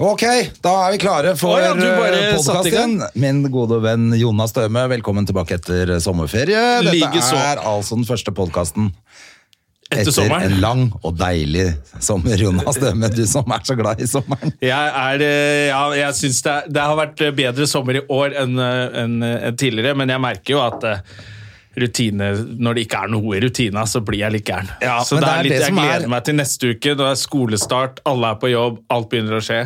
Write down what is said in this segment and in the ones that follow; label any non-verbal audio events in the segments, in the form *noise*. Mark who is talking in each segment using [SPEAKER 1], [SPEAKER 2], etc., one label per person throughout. [SPEAKER 1] Ok, da er vi klare for
[SPEAKER 2] Å ja, du bare
[SPEAKER 1] eh,
[SPEAKER 2] satte i gang.
[SPEAKER 1] podcasten. Min gode venn Jonas Døme, velkommen tilbake etter sommerferie. Dette
[SPEAKER 2] Likeså.
[SPEAKER 1] er altså den første podkasten
[SPEAKER 2] Etter
[SPEAKER 1] etter
[SPEAKER 2] sommeren.
[SPEAKER 1] en lang og deilig sommer, Jonas Døme. Du som er så glad i sommeren.
[SPEAKER 2] Jeg, er, eh, ja, jeg synes det, er- det har vært eh, bedre sommer i år enn eh, enn, eh, enn tidligere, men jeg merker jo at eh, rutine, når det ikke er noe i rutina, så blir jeg litt gæren.
[SPEAKER 1] Ja,
[SPEAKER 2] så
[SPEAKER 1] men
[SPEAKER 2] det
[SPEAKER 1] det er
[SPEAKER 2] er litt,
[SPEAKER 1] det
[SPEAKER 2] jeg
[SPEAKER 1] som er-
[SPEAKER 2] gleder meg til neste uke. Da er skolestart, alle er på jobb, alt begynner å skje.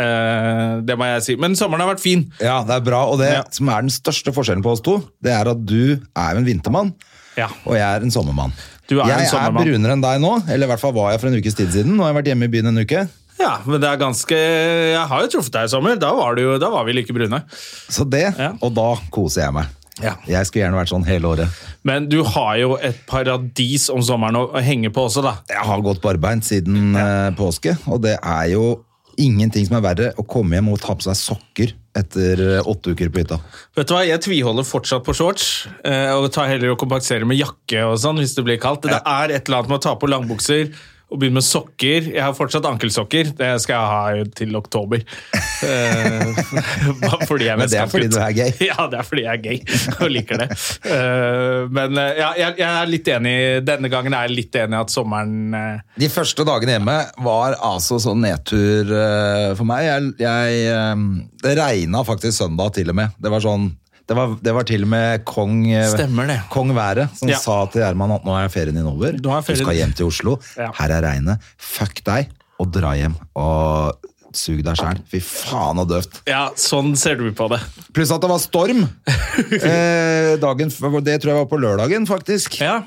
[SPEAKER 2] Eh, det må jeg si. Men sommeren har vært fin.
[SPEAKER 1] Ja, det er bra. Og det
[SPEAKER 2] Ja.
[SPEAKER 1] som er den største forskjellen på oss to, det er at du er jo en vintermann,
[SPEAKER 2] Ja.
[SPEAKER 1] og jeg er en sommermann.
[SPEAKER 2] Du er en
[SPEAKER 1] jeg
[SPEAKER 2] sommermann.
[SPEAKER 1] er brunere enn deg nå, eller i hvert fall var jeg for en ukes tid siden. Nå har jeg vært hjemme i byen en uke.
[SPEAKER 2] ja, men det er ganske Jeg har jo truffet deg i sommer. Da var, du, jo- da var vi like brune.
[SPEAKER 1] Så det,
[SPEAKER 2] Ja.
[SPEAKER 1] og da koser jeg meg.
[SPEAKER 2] Ja.
[SPEAKER 1] Jeg skulle gjerne vært sånn hele året.
[SPEAKER 2] Men du har jo et paradis om sommeren å, å henge på også, da.
[SPEAKER 1] Jeg har gått barbeint siden eh, påske, og det er jo ingenting som er verre å komme hjem og ta på seg sokker etter eh, åtte uker på hytta.
[SPEAKER 2] Vet du hva, Jeg tviholder fortsatt på shorts, eh, og tar heller å kompensere med jakke og sånn hvis det blir kaldt. Det er et eller annet med å ta på langbukser og begynne med sokker. Jeg har fortsatt ankelsokker. Det skal jeg ha til oktober. Eh, *laughs* bare fordi jeg
[SPEAKER 1] Men det er fordi du er gay.
[SPEAKER 2] *laughs* Ja, det er fordi jeg er gay og liker det. Eh, men eh, ja, jeg, jeg er litt enig. Denne gangen er jeg litt enig i at sommeren eh,
[SPEAKER 1] De første dagene hjemme var altså sånn nedtur eh, for meg. Jeg, jeg, eh, det regna faktisk søndag til og med. Det var sånn det var, det var til og med kong, eh,
[SPEAKER 2] Stemmer det.
[SPEAKER 1] kong Været som
[SPEAKER 2] Ja.
[SPEAKER 1] sa til Gjerman at nå er ferien din over.
[SPEAKER 2] Nå er ferien-
[SPEAKER 1] Du skal hjem til Oslo.
[SPEAKER 2] Ja.
[SPEAKER 1] Her er regnet. Fuck deg, og dra hjem. Og sug deg sjæl. Fy faen og døvt.
[SPEAKER 2] Ja, sånn ser du på det.
[SPEAKER 1] Pluss at det
[SPEAKER 2] *laughs*
[SPEAKER 1] var storm. Eh, dagen, f- det tror jeg var på lørdagen, faktisk.
[SPEAKER 2] Ja,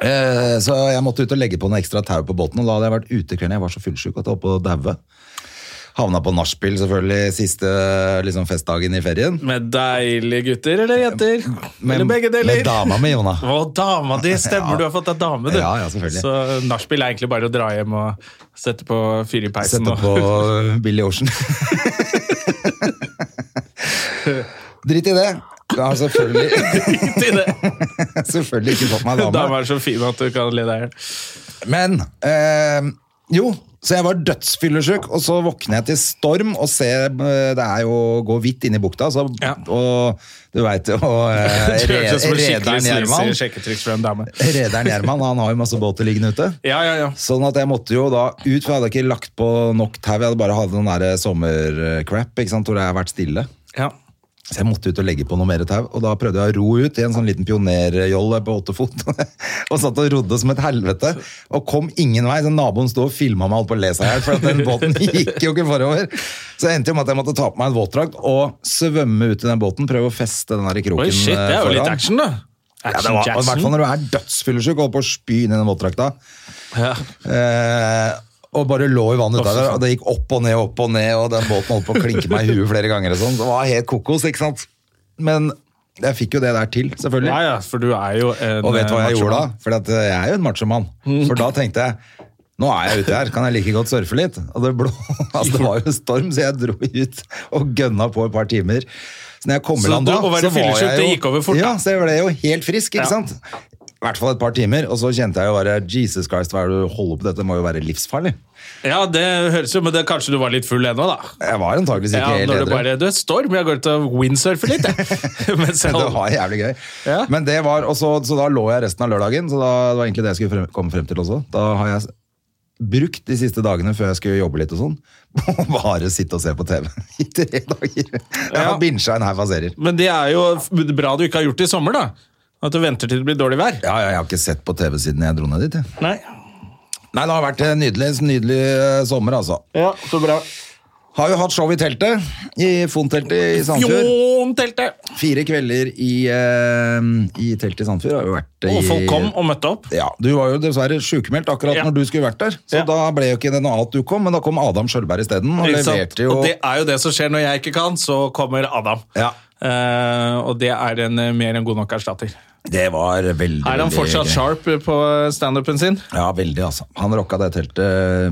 [SPEAKER 1] Eh, så jeg måtte ut og legge på noe ekstra tau på båten, og da hadde jeg vært ute kvelden. Jeg var så fullsjuk at jeg holdt på å daue. Havna på nachspiel, selvfølgelig, siste liksom, festdagen i ferien.
[SPEAKER 2] Med deilige gutter eller jenter? eller begge deler?
[SPEAKER 1] med dama mi, Jona.
[SPEAKER 2] Å, dama di! Stemmer,
[SPEAKER 1] Ja.
[SPEAKER 2] du har fått deg dame, du.
[SPEAKER 1] Ja, ja, selvfølgelig.
[SPEAKER 2] Så eh, nachspiel er egentlig bare å dra hjem og sette på fyr i peisen.
[SPEAKER 1] Sette
[SPEAKER 2] og- *laughs*
[SPEAKER 1] på Billy Ocean. Drit i det. Jeg har selvfølgelig, *laughs*
[SPEAKER 2] Til det.
[SPEAKER 1] selvfølgelig ikke fått meg dame.
[SPEAKER 2] Dama er så fin at du kan le deg i hjel.
[SPEAKER 1] Men eh, jo, så jeg var dødsfyllesyk, og så våkner jeg til storm og ser eh, Det er jo å gå hvitt inn i bukta, så,
[SPEAKER 2] Ja.
[SPEAKER 1] og du veit jo eh,
[SPEAKER 2] *laughs* Det
[SPEAKER 1] re-
[SPEAKER 2] høres ut som en skikkelig
[SPEAKER 1] Rederen Gjerman
[SPEAKER 2] sleazy sjekketriks fra en dame.
[SPEAKER 1] Rederen Gjerman, han har jo masse båter liggende ute.
[SPEAKER 2] Ja, ja, ja.
[SPEAKER 1] Sånn at jeg måtte jo da ut, for jeg hadde ikke lagt på nok tau. Jeg hadde bare hatt noen der sommercrap ikke sant, hvor det har vært stille.
[SPEAKER 2] ja.
[SPEAKER 1] Så jeg måtte ut og legge på noe mer tau, og da prøvde jeg å ro ut i en sånn liten pionerjolle på åtte fot. *laughs* og satt og rodde som et helvete, og kom ingen vei. Så naboen sto og filma meg holdt på å le seg i hjel, for at den båten *laughs* gikk jo ikke forover. Så det endte jo med at jeg måtte ta på meg en våtdrakt og svømme ut i den båten, prøve å feste den der kroken
[SPEAKER 2] Oi, shit, det er
[SPEAKER 1] eh,
[SPEAKER 2] jo litt
[SPEAKER 1] foran.
[SPEAKER 2] action, da.
[SPEAKER 1] Ja, det var, og I hvert fall når du er dødsfyllesyk og holder på å spy inn i den våtdrakta.
[SPEAKER 2] Ja.
[SPEAKER 1] Eh, og bare lå i
[SPEAKER 2] Å,
[SPEAKER 1] vannet
[SPEAKER 2] fy
[SPEAKER 1] utafor,
[SPEAKER 2] faen.
[SPEAKER 1] og det gikk opp og ned og opp og ned, og den båten holdt på å klinke meg i huet flere ganger og sånn. Det var helt kokos, ikke sant? Men jeg fikk jo det der til, selvfølgelig.
[SPEAKER 2] Ja, ja, for du er jo en
[SPEAKER 1] Og vet du hva jeg
[SPEAKER 2] eh,
[SPEAKER 1] gjorde da?
[SPEAKER 2] machomann. Mm.
[SPEAKER 1] For at eh, jeg er jo en machomann. For da tenkte jeg nå er jeg ute her, kan jeg like godt surfe litt? Og det, blå, *laughs* altså det var jo storm, så jeg dro ut og gønna på et par timer. Så når jeg kom i
[SPEAKER 2] Så
[SPEAKER 1] land
[SPEAKER 2] du-
[SPEAKER 1] da,
[SPEAKER 2] å være fyllesyk, det gikk over fort, da.
[SPEAKER 1] Ja, så jeg ble jo helt frisk, ikke
[SPEAKER 2] Ja.
[SPEAKER 1] sant? I hvert fall et par timer, og så kjente jeg jo bare Jesus Christ, hva er det du holder på med? Dette må jo være livsfarlig.
[SPEAKER 2] Ja, det høres jo, men det, kanskje du var litt full ennå, da.
[SPEAKER 1] Jeg var antakeligvis ikke
[SPEAKER 2] Ja,
[SPEAKER 1] helt
[SPEAKER 2] når du
[SPEAKER 1] edru.
[SPEAKER 2] bare Du, storm, jeg går ut og windsurfer litt, jeg.
[SPEAKER 1] *laughs*
[SPEAKER 2] *laughs* Mens jeg
[SPEAKER 1] Det
[SPEAKER 2] holder-
[SPEAKER 1] var jævlig gøy.
[SPEAKER 2] Ja.
[SPEAKER 1] Men det var, og så, så da lå jeg resten av lørdagen, så da, det var egentlig det jeg skulle frem, komme frem til også. Da har jeg s- brukt de siste dagene før jeg skulle jobbe litt og sånn, *laughs* på å bare sitte og se på TV *laughs* i tre dager. Jeg har
[SPEAKER 2] Ja.
[SPEAKER 1] binsja en haug av serier.
[SPEAKER 2] Men det er jo f- bra du ikke har gjort det i sommer, da. At du venter til det blir dårlig vær.
[SPEAKER 1] Ja, ja, jeg har ikke sett på TV siden jeg dro ned dit. jeg.
[SPEAKER 2] Nei.
[SPEAKER 1] Nei, det har vært en nydelig, nydelig eh, sommer, altså.
[SPEAKER 2] Ja, så bra.
[SPEAKER 1] Har jo hatt show i teltet. I Fon-teltet i Sandfjord.
[SPEAKER 2] Fjonteltet!
[SPEAKER 1] Fire kvelder i, eh, i teltet i Sandfjord har jo vært i
[SPEAKER 2] Og folk kom og møtte opp.
[SPEAKER 1] Ja, Du var jo dessverre sykemeldt akkurat
[SPEAKER 2] Ja.
[SPEAKER 1] når du skulle vært der, så
[SPEAKER 2] Ja.
[SPEAKER 1] da ble jo ikke det noe av at du kom, men da kom Adam Sjølberg isteden. Og
[SPEAKER 2] Ikke sant?
[SPEAKER 1] leverte jo
[SPEAKER 2] Og det er jo det som skjer når jeg ikke kan, så kommer Adam.
[SPEAKER 1] Ja.
[SPEAKER 2] Eh, og det er en eh, mer enn god nok erstatter.
[SPEAKER 1] Det var veldig
[SPEAKER 2] Er han
[SPEAKER 1] veldig
[SPEAKER 2] fortsatt
[SPEAKER 1] gøy.
[SPEAKER 2] sharp på standupen sin?
[SPEAKER 1] Ja, veldig, altså. Han rocka det teltet eh,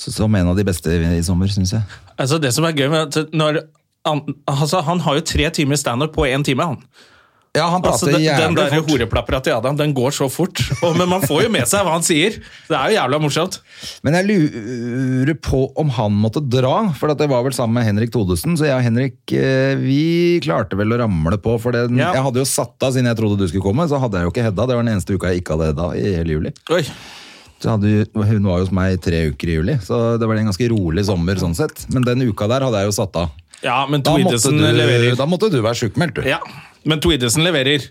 [SPEAKER 1] så- som en av de beste i i sommer, syns jeg.
[SPEAKER 2] Altså det som er gøy med at når han, altså han har jo tre timer standup på én time. han.
[SPEAKER 1] Ja, han prater
[SPEAKER 2] Altså den, den
[SPEAKER 1] jævlig
[SPEAKER 2] der
[SPEAKER 1] fort.
[SPEAKER 2] horeplappera til Adam den går så fort. Og, men man får jo med seg hva han sier. Det er jo jævla morsomt.
[SPEAKER 1] Men jeg lurer på om han måtte dra, for at det var vel sammen med Henrik Todesen, så jeg og Henrik eh, vi klarte vel å ramle på, for den,
[SPEAKER 2] Ja.
[SPEAKER 1] jeg hadde jo satt av siden jeg trodde du skulle komme, så hadde jeg jo ikke Hedda. Det var den eneste uka jeg ikke hadde Hedda i hele juli.
[SPEAKER 2] Oi,
[SPEAKER 1] Så hadde, jo- hun var jo hos meg i tre uker i juli, så det var en ganske rolig sommer sånn sett. Men den uka der hadde jeg jo satt av.
[SPEAKER 2] Ja, men
[SPEAKER 1] Da måtte
[SPEAKER 2] Tweedesen
[SPEAKER 1] du,
[SPEAKER 2] leverer.
[SPEAKER 1] da måtte du være sjukmeldt, du.
[SPEAKER 2] Ja, men Tweedesen leverer.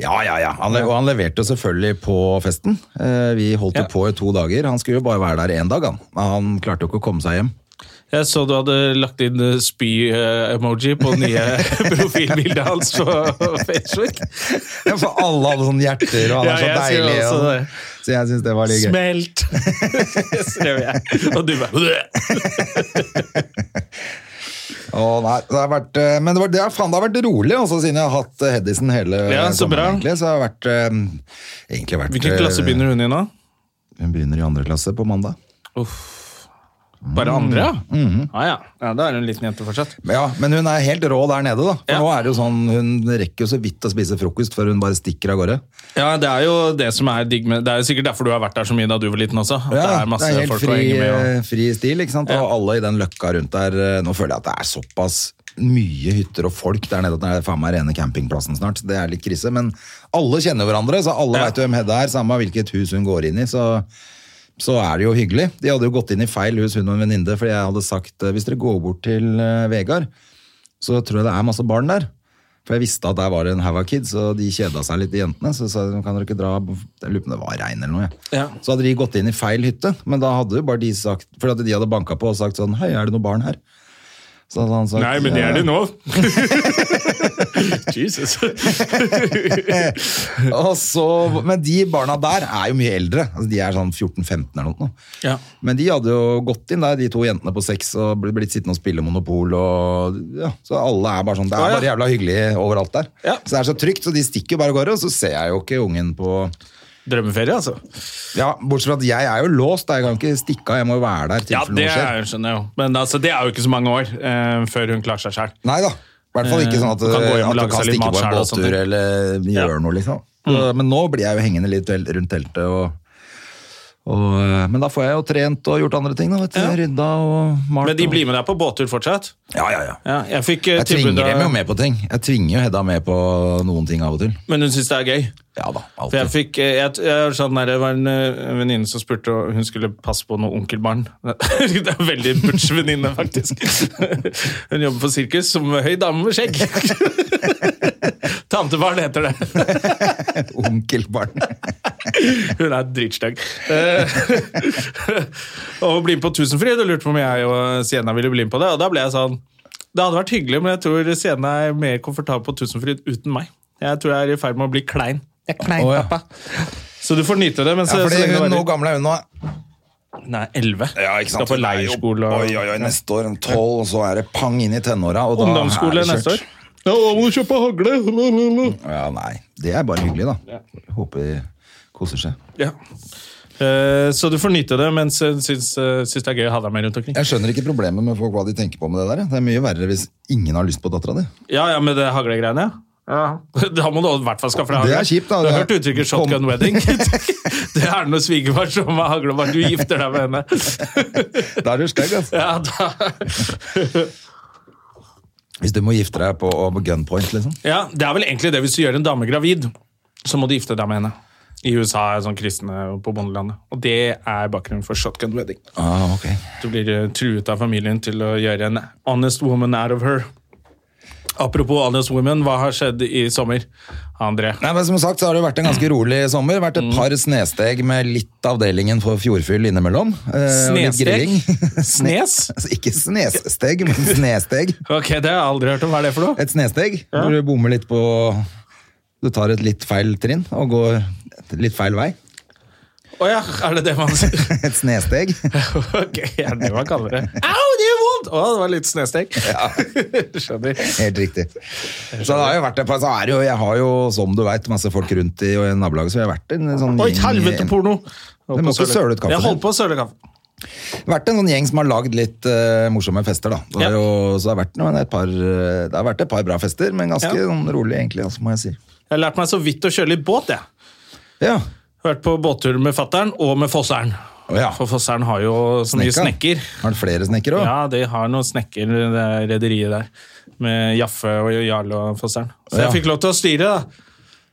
[SPEAKER 1] Ja, ja, ja. Han, le- og han leverte jo selvfølgelig på festen. Eh, Vi holdt jo
[SPEAKER 2] Ja.
[SPEAKER 1] på i to dager. Han skulle jo bare være der én dag, han. Men han klarte jo ikke å komme seg hjem.
[SPEAKER 2] Jeg så du hadde lagt inn eh, spy-emoji på nye
[SPEAKER 1] *laughs*
[SPEAKER 2] profilbildet hans på Facebook.
[SPEAKER 1] Ja, For alle hadde sånne hjerter, og han er
[SPEAKER 2] Ja,
[SPEAKER 1] så
[SPEAKER 2] jeg ser
[SPEAKER 1] deilig.
[SPEAKER 2] også det.
[SPEAKER 1] Og, så jeg syns det var litt gøy.
[SPEAKER 2] Smelt! *laughs* Skrev jeg. Og du bare "Bleh."
[SPEAKER 1] Å, nei, det har vært, eh, men det, var, det, har, faen, det har vært rolig altså, siden jeg har hatt eh, Hedison hele
[SPEAKER 2] Ja, så bra.
[SPEAKER 1] sommeren, Egentlig, så har det vært, eh, egentlig vært
[SPEAKER 2] Hvilken klasse begynner hun i nå?
[SPEAKER 1] hun? Hun begynner i andre klasse på mandag.
[SPEAKER 2] Bare
[SPEAKER 1] Mm.
[SPEAKER 2] andre, ja?
[SPEAKER 1] Mm-hmm.
[SPEAKER 2] Ah, ja. ja? Da er hun en liten jente fortsatt.
[SPEAKER 1] Men, ja, men hun er helt rå der nede, da. For
[SPEAKER 2] Ja.
[SPEAKER 1] nå er det jo sånn, Hun rekker jo så vidt å spise frokost før hun bare stikker av gårde.
[SPEAKER 2] Ja, Det er jo det som er digg med Det er jo sikkert derfor du har vært der så mye da du var liten også. At
[SPEAKER 1] Ja,
[SPEAKER 2] det er masse
[SPEAKER 1] helt
[SPEAKER 2] folk
[SPEAKER 1] fri,
[SPEAKER 2] å henge med. Og...
[SPEAKER 1] eh, fri stil, ikke sant? Og alle i den løkka rundt der eh, Nå føler jeg at det er såpass mye hytter og folk der nede at det er faen meg rene campingplassen snart. Det er litt krise, men alle kjenner hverandre, så alle
[SPEAKER 2] Ja.
[SPEAKER 1] vet jo hvem Hedda er, samme hvilket hus hun går inn i. så... Så er det jo hyggelig. De hadde jo gått inn i feil hus, hun og en venninne, fordi jeg hadde sagt eh, hvis dere går bort til eh, Vegard, så tror jeg det er masse barn der. For jeg visste at der var en haug av kids, og de kjeda seg litt, de jentene. Så sa de kan dere ikke dra Jeg lurer på om det var regn eller noe. jeg.
[SPEAKER 2] Ja.
[SPEAKER 1] Så hadde de gått inn i feil hytte, men da hadde jo bare de sagt For at de hadde banka på og sagt sånn Hei, er det noen barn her? Så hadde han sagt
[SPEAKER 2] Nei, men det er
[SPEAKER 1] «Ja».
[SPEAKER 2] det nå!
[SPEAKER 1] *laughs*
[SPEAKER 2] *laughs* Jesus.
[SPEAKER 1] Og så, men de barna der er jo mye eldre. Altså, de er sånn 14-15 eller noe.
[SPEAKER 2] Ja.
[SPEAKER 1] Men de hadde jo gått inn der, de to jentene på seks, og blitt, blitt sittende og spille Monopol. Og, ja, så alle er bare sånn, Det
[SPEAKER 2] Ja, ja.
[SPEAKER 1] er bare jævla hyggelig overalt der.
[SPEAKER 2] Ja.
[SPEAKER 1] Så det er så trygt, så de stikker jo bare av gårde. Og så ser jeg jo ikke ungen på
[SPEAKER 2] Drømmeferie, altså.
[SPEAKER 1] Ja, Bortsett fra at jeg er jo låst, da. jeg kan ikke stikke av. Jeg må jo være der.
[SPEAKER 2] Ja,
[SPEAKER 1] tilfelle
[SPEAKER 2] det
[SPEAKER 1] noe skjer.
[SPEAKER 2] er, skjønner jeg jo. Men altså, det er jo ikke så mange år eh, før hun klarer seg sjøl.
[SPEAKER 1] Nei da. I hvert fall ikke sånn at,
[SPEAKER 2] Eh, kan gå hjem og
[SPEAKER 1] at du
[SPEAKER 2] lage
[SPEAKER 1] kan
[SPEAKER 2] seg litt
[SPEAKER 1] stikke
[SPEAKER 2] mat
[SPEAKER 1] på en
[SPEAKER 2] selv og sånne
[SPEAKER 1] båttur
[SPEAKER 2] ting.
[SPEAKER 1] eller gjøre
[SPEAKER 2] Ja. Mm.
[SPEAKER 1] noe, liksom. Så- Men nå blir jeg jo hengende litt vel- rundt teltet og, og eh, Men da får jeg jo trent og gjort andre ting, da. Vet du. Rydda og malt.
[SPEAKER 2] Men de
[SPEAKER 1] og-
[SPEAKER 2] blir med deg på båttur fortsatt?
[SPEAKER 1] Ja, ja, ja.
[SPEAKER 2] Ja, jeg fikk eh,
[SPEAKER 1] Jeg
[SPEAKER 2] tilbud
[SPEAKER 1] tvinger dem jo
[SPEAKER 2] av
[SPEAKER 1] med på ting. Jeg tvinger jo Hedda med på noen ting av og til.
[SPEAKER 2] Men hun syns det er gøy?
[SPEAKER 1] Ja da,
[SPEAKER 2] For jeg
[SPEAKER 1] alltid.
[SPEAKER 2] fikk, eh, jeg, jeg, sånn der, det var en eh, venninne som spurte om hun skulle passe på noen onkelbarn. *laughs* Det er en veldig butch venninne, faktisk. *laughs* Hun jobber på sirkus som høy dame med skjegg. *laughs* Tantebarn heter det. *laughs*
[SPEAKER 1] Onkelbarn.
[SPEAKER 2] Hun er dritstygg. Eh, *laughs* Og bli med på Tusenfryd, og lurte på om jeg og Sienna ville bli med på det. Og da ble jeg sånn Det hadde vært hyggelig, men jeg tror Sienna er mer komfortabel på Tusenfryd uten meg. Jeg tror jeg er i ferd med å bli klein. Jeg er klein,
[SPEAKER 1] Å, ja.
[SPEAKER 2] pappa. Så du får nyte det. Mens
[SPEAKER 1] Ja,
[SPEAKER 2] så
[SPEAKER 1] fordi
[SPEAKER 2] lenge det
[SPEAKER 1] hun,
[SPEAKER 2] varer.
[SPEAKER 1] Hvor gammel er hun nå?
[SPEAKER 2] Nei, 11. Skal på
[SPEAKER 1] Hun er jo-
[SPEAKER 2] leirskole. og-
[SPEAKER 1] Oi, oi, oi, neste år. Tolv, og så er det pang inn i tenåra. og da er det
[SPEAKER 2] Ungdomsskole
[SPEAKER 1] kjørt.
[SPEAKER 2] neste år. Ja, da må du kjøpe hagle!
[SPEAKER 1] Ja, nei. Det er bare hyggelig, da. Håper de koser seg.
[SPEAKER 2] Ja. Eh, Så du får nyte det, mens jeg syns, eh, syns det er gøy å ha deg med rundt omkring.
[SPEAKER 1] Jeg skjønner ikke problemet med folk hva de tenker på med det der. Det er mye verre hvis ingen har lyst på dattera di.
[SPEAKER 2] *laughs* Ja, ja, med det haglegreiene, ja. *laughs* Da må du i hvert fall skaffe deg
[SPEAKER 1] Det er
[SPEAKER 2] hagle.
[SPEAKER 1] kjipt, da.
[SPEAKER 2] Du har
[SPEAKER 1] Det
[SPEAKER 2] hørt
[SPEAKER 1] er-
[SPEAKER 2] uttrykket 'shotgun
[SPEAKER 1] *laughs*
[SPEAKER 2] wedding'? *laughs* det er når svigerfar som har hagle, bare du gifter deg med
[SPEAKER 1] *laughs*
[SPEAKER 2] henne.
[SPEAKER 1] Da er du stygg, altså.
[SPEAKER 2] ja, da.
[SPEAKER 1] Hvis du må gifte deg på og på gunpoint, liksom.
[SPEAKER 2] ja, det er vel egentlig det hvis du gjør en dame gravid, så må du gifte deg med henne. I USA er sånn kristne på bondelandet. Og det er bakgrunnen for shotgun wedding.
[SPEAKER 1] Ah, ok.
[SPEAKER 2] Du blir eh, truet av familien til å gjøre en honest woman out of her. Apropos Alias Women, hva har skjedd i sommer? André.
[SPEAKER 1] Nei, men som sagt så har det vært en ganske rolig sommer. Vært
[SPEAKER 2] Mm.
[SPEAKER 1] et par snesteg med litt avdelingen for fjordfyll innimellom. Eh, og litt
[SPEAKER 2] Snesteg?
[SPEAKER 1] grilling. *laughs*
[SPEAKER 2] Snes?
[SPEAKER 1] Altså, ikke snesesteg, men snesteg.
[SPEAKER 2] Ok, det har jeg aldri hørt om. Hva er det for noe?
[SPEAKER 1] Et snesteg hvor du bommer litt på Du tar et litt feil trinn og går et litt feil vei. *laughs*
[SPEAKER 2] Å ja, er det det man sier?
[SPEAKER 1] Et snesteg.
[SPEAKER 2] Ok, er det det man kaller det? Au, det gjør vondt! Å, det var litt snestek. *laughs* Skjønner.
[SPEAKER 1] Helt riktig. Så det har jo vært et par, så er det jo, jeg har jo, som du veit, masse folk rundt i, og i nabolaget, så jeg har vært en sånn
[SPEAKER 2] Oi,
[SPEAKER 1] gjeng-
[SPEAKER 2] helvete, porno!
[SPEAKER 1] Du må ikke søle ut kaffen
[SPEAKER 2] Jeg holdt
[SPEAKER 1] din.
[SPEAKER 2] på å søle ut kaffen.
[SPEAKER 1] vært en sånn gjeng som har lagd litt eh, morsomme fester, da. Det,
[SPEAKER 2] Ja.
[SPEAKER 1] har jo, så det, har vært, noen- et par, eh, det har vært et par bra fester, men ganske
[SPEAKER 2] Ja.
[SPEAKER 1] sånn rolig, egentlig, altså, må jeg si.
[SPEAKER 2] Jeg har lært meg så vidt å kjøre litt båt, jeg.
[SPEAKER 1] Ja.
[SPEAKER 2] Vært på båttur med fattern og med fosseren.
[SPEAKER 1] Å, ja.
[SPEAKER 2] For fosseren har jo så mye snekker.
[SPEAKER 1] Har du flere snekker òg?
[SPEAKER 2] Ja, de har noen snekker, det er rederiet der. Med Jaffe og Jarle og fosseren. Så
[SPEAKER 1] Ja.
[SPEAKER 2] jeg fikk lov til å styre, da.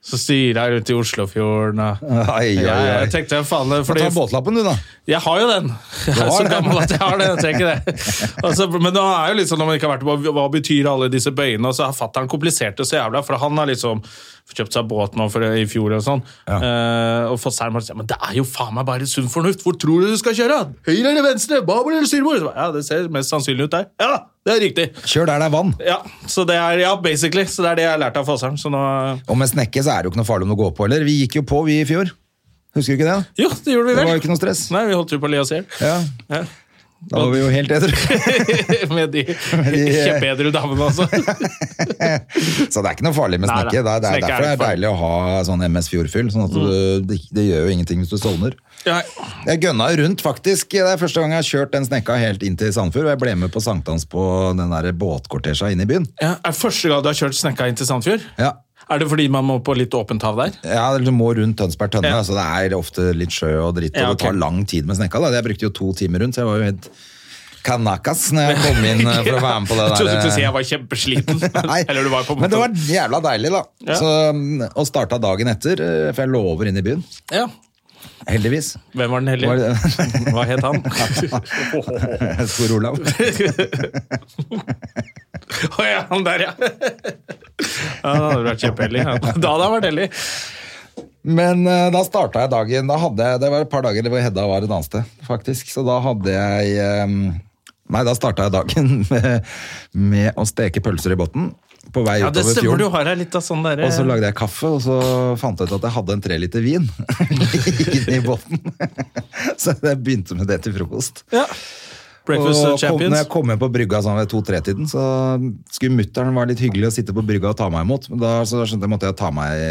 [SPEAKER 2] Så styra jeg rundt i Oslofjorden. Og...
[SPEAKER 1] Ai, ai,
[SPEAKER 2] Jeg,
[SPEAKER 1] ai.
[SPEAKER 2] jeg tenkte, faen, det-
[SPEAKER 1] Ta
[SPEAKER 2] fordi
[SPEAKER 1] båtlappen, du, da.
[SPEAKER 2] Jeg har jo den! Jeg er
[SPEAKER 1] har
[SPEAKER 2] så
[SPEAKER 1] den.
[SPEAKER 2] gammel at jeg har den. jeg trenger
[SPEAKER 1] *laughs*
[SPEAKER 2] ikke det. Altså, men da er jo litt sånn, når man ikke har vært på, hva- hva betyr alle disse bøyene? Og så har fattern komplisert det så jævla, for han har liksom kjøpt seg båt nå for, i fjor og sånn. Eh, og Fossheim har sagt men det er jo faen meg bare sunn fornuft! Hvor tror du du skal kjøre? Høyre eller venstre? Babord eller styrbord? Så ba, Ja, det ser mest sannsynlig ut der. Ja, det er riktig!
[SPEAKER 1] Kjør der det er vann.
[SPEAKER 2] Ja, så det er, ja, basically. Så det er det jeg har lært av Fossheim. Så nå
[SPEAKER 1] Og med snekke så er det jo ikke noe farlig om du går på, eller? Vi gikk jo på, vi, i fjor. Husker du ikke det?
[SPEAKER 2] Jo, det gjorde vi vel.
[SPEAKER 1] Det var jo ikke noe stress.
[SPEAKER 2] Nei, vi holdt jo på å le oss i hjel.
[SPEAKER 1] Ja.
[SPEAKER 2] Ja. *laughs*
[SPEAKER 1] Da var vi jo helt edru.
[SPEAKER 2] Med de,
[SPEAKER 1] de-
[SPEAKER 2] kjempeedru damene, altså.
[SPEAKER 1] Så det er ikke noe farlig med
[SPEAKER 2] Nei, nei.
[SPEAKER 1] snekke. Det er, det er
[SPEAKER 2] Snekke er
[SPEAKER 1] derfor det
[SPEAKER 2] ikke
[SPEAKER 1] er
[SPEAKER 2] farlig. Mm.
[SPEAKER 1] deilig å ha sånn MS Fjordfyll. Sånn at du, det, det gjør jo ingenting hvis du sovner.
[SPEAKER 2] Ja,
[SPEAKER 1] Jeg gønna jo rundt, faktisk. Det er første gang jeg har kjørt den snekka helt inn til Sandfjord. Og jeg ble med på sankthans på den der båtkortesja inne i byen.
[SPEAKER 2] Ja, er det første gang du har kjørt snekka inn til Sandfjord?
[SPEAKER 1] Ja.
[SPEAKER 2] Er det fordi man må på litt åpent hav der?
[SPEAKER 1] Ja, eller Du må rundt Tønsberg-Tønne,
[SPEAKER 2] Ja.
[SPEAKER 1] så det er ofte litt sjø og dritt.
[SPEAKER 2] Ja,
[SPEAKER 1] Og det tar
[SPEAKER 2] ok.
[SPEAKER 1] lang tid med snekka. da. Jeg brukte jo to timer rundt, så jeg var jo helt kanakas når jeg kom inn eh, for å være med på det
[SPEAKER 2] *laughs* Jeg trodde du skulle si
[SPEAKER 1] der. eh,
[SPEAKER 2] jeg var kjempesliten.
[SPEAKER 1] *laughs* Nei,
[SPEAKER 2] *laughs* Eller du var på
[SPEAKER 1] men det var jævla deilig, da.
[SPEAKER 2] Ja.
[SPEAKER 1] Så, mm, og starta dagen etter, eh, for jeg lover inn i byen.
[SPEAKER 2] ja.
[SPEAKER 1] Heldigvis.
[SPEAKER 2] Hvem var den hellige?
[SPEAKER 1] Var det-
[SPEAKER 2] Hva het
[SPEAKER 1] *laughs*
[SPEAKER 2] han? *laughs*
[SPEAKER 1] Stor Olav.
[SPEAKER 2] Å ja, han der, ja. *laughs* Ja, Da hadde du vært kjempehellig. ja. Da hadde han vært hellig.
[SPEAKER 1] Men eh, da starta jeg dagen da hadde jeg, Det var et par dager hvor Hedda var et annet sted, faktisk. Så da hadde jeg eh, Nei, da starta jeg dagen *laughs* med, med å steke pølser i bunnen på vei
[SPEAKER 2] Ja, det
[SPEAKER 1] utover
[SPEAKER 2] stemmer, du
[SPEAKER 1] fjorden.
[SPEAKER 2] har her litt av sånn derre
[SPEAKER 1] Og så lagde jeg kaffe, og så fant jeg ut at jeg hadde en treliter vin *laughs* inni bunnen. *laughs* så jeg begynte med det til frokost.
[SPEAKER 2] ja. Breakfast
[SPEAKER 1] og kom, når jeg
[SPEAKER 2] Champions.
[SPEAKER 1] kom hjem på brygga sånn ved to-tre-tiden, så skulle mutter'n være litt hyggelig å sitte på brygga og ta meg imot. Men da så skjønte jeg måtte jeg ta meg,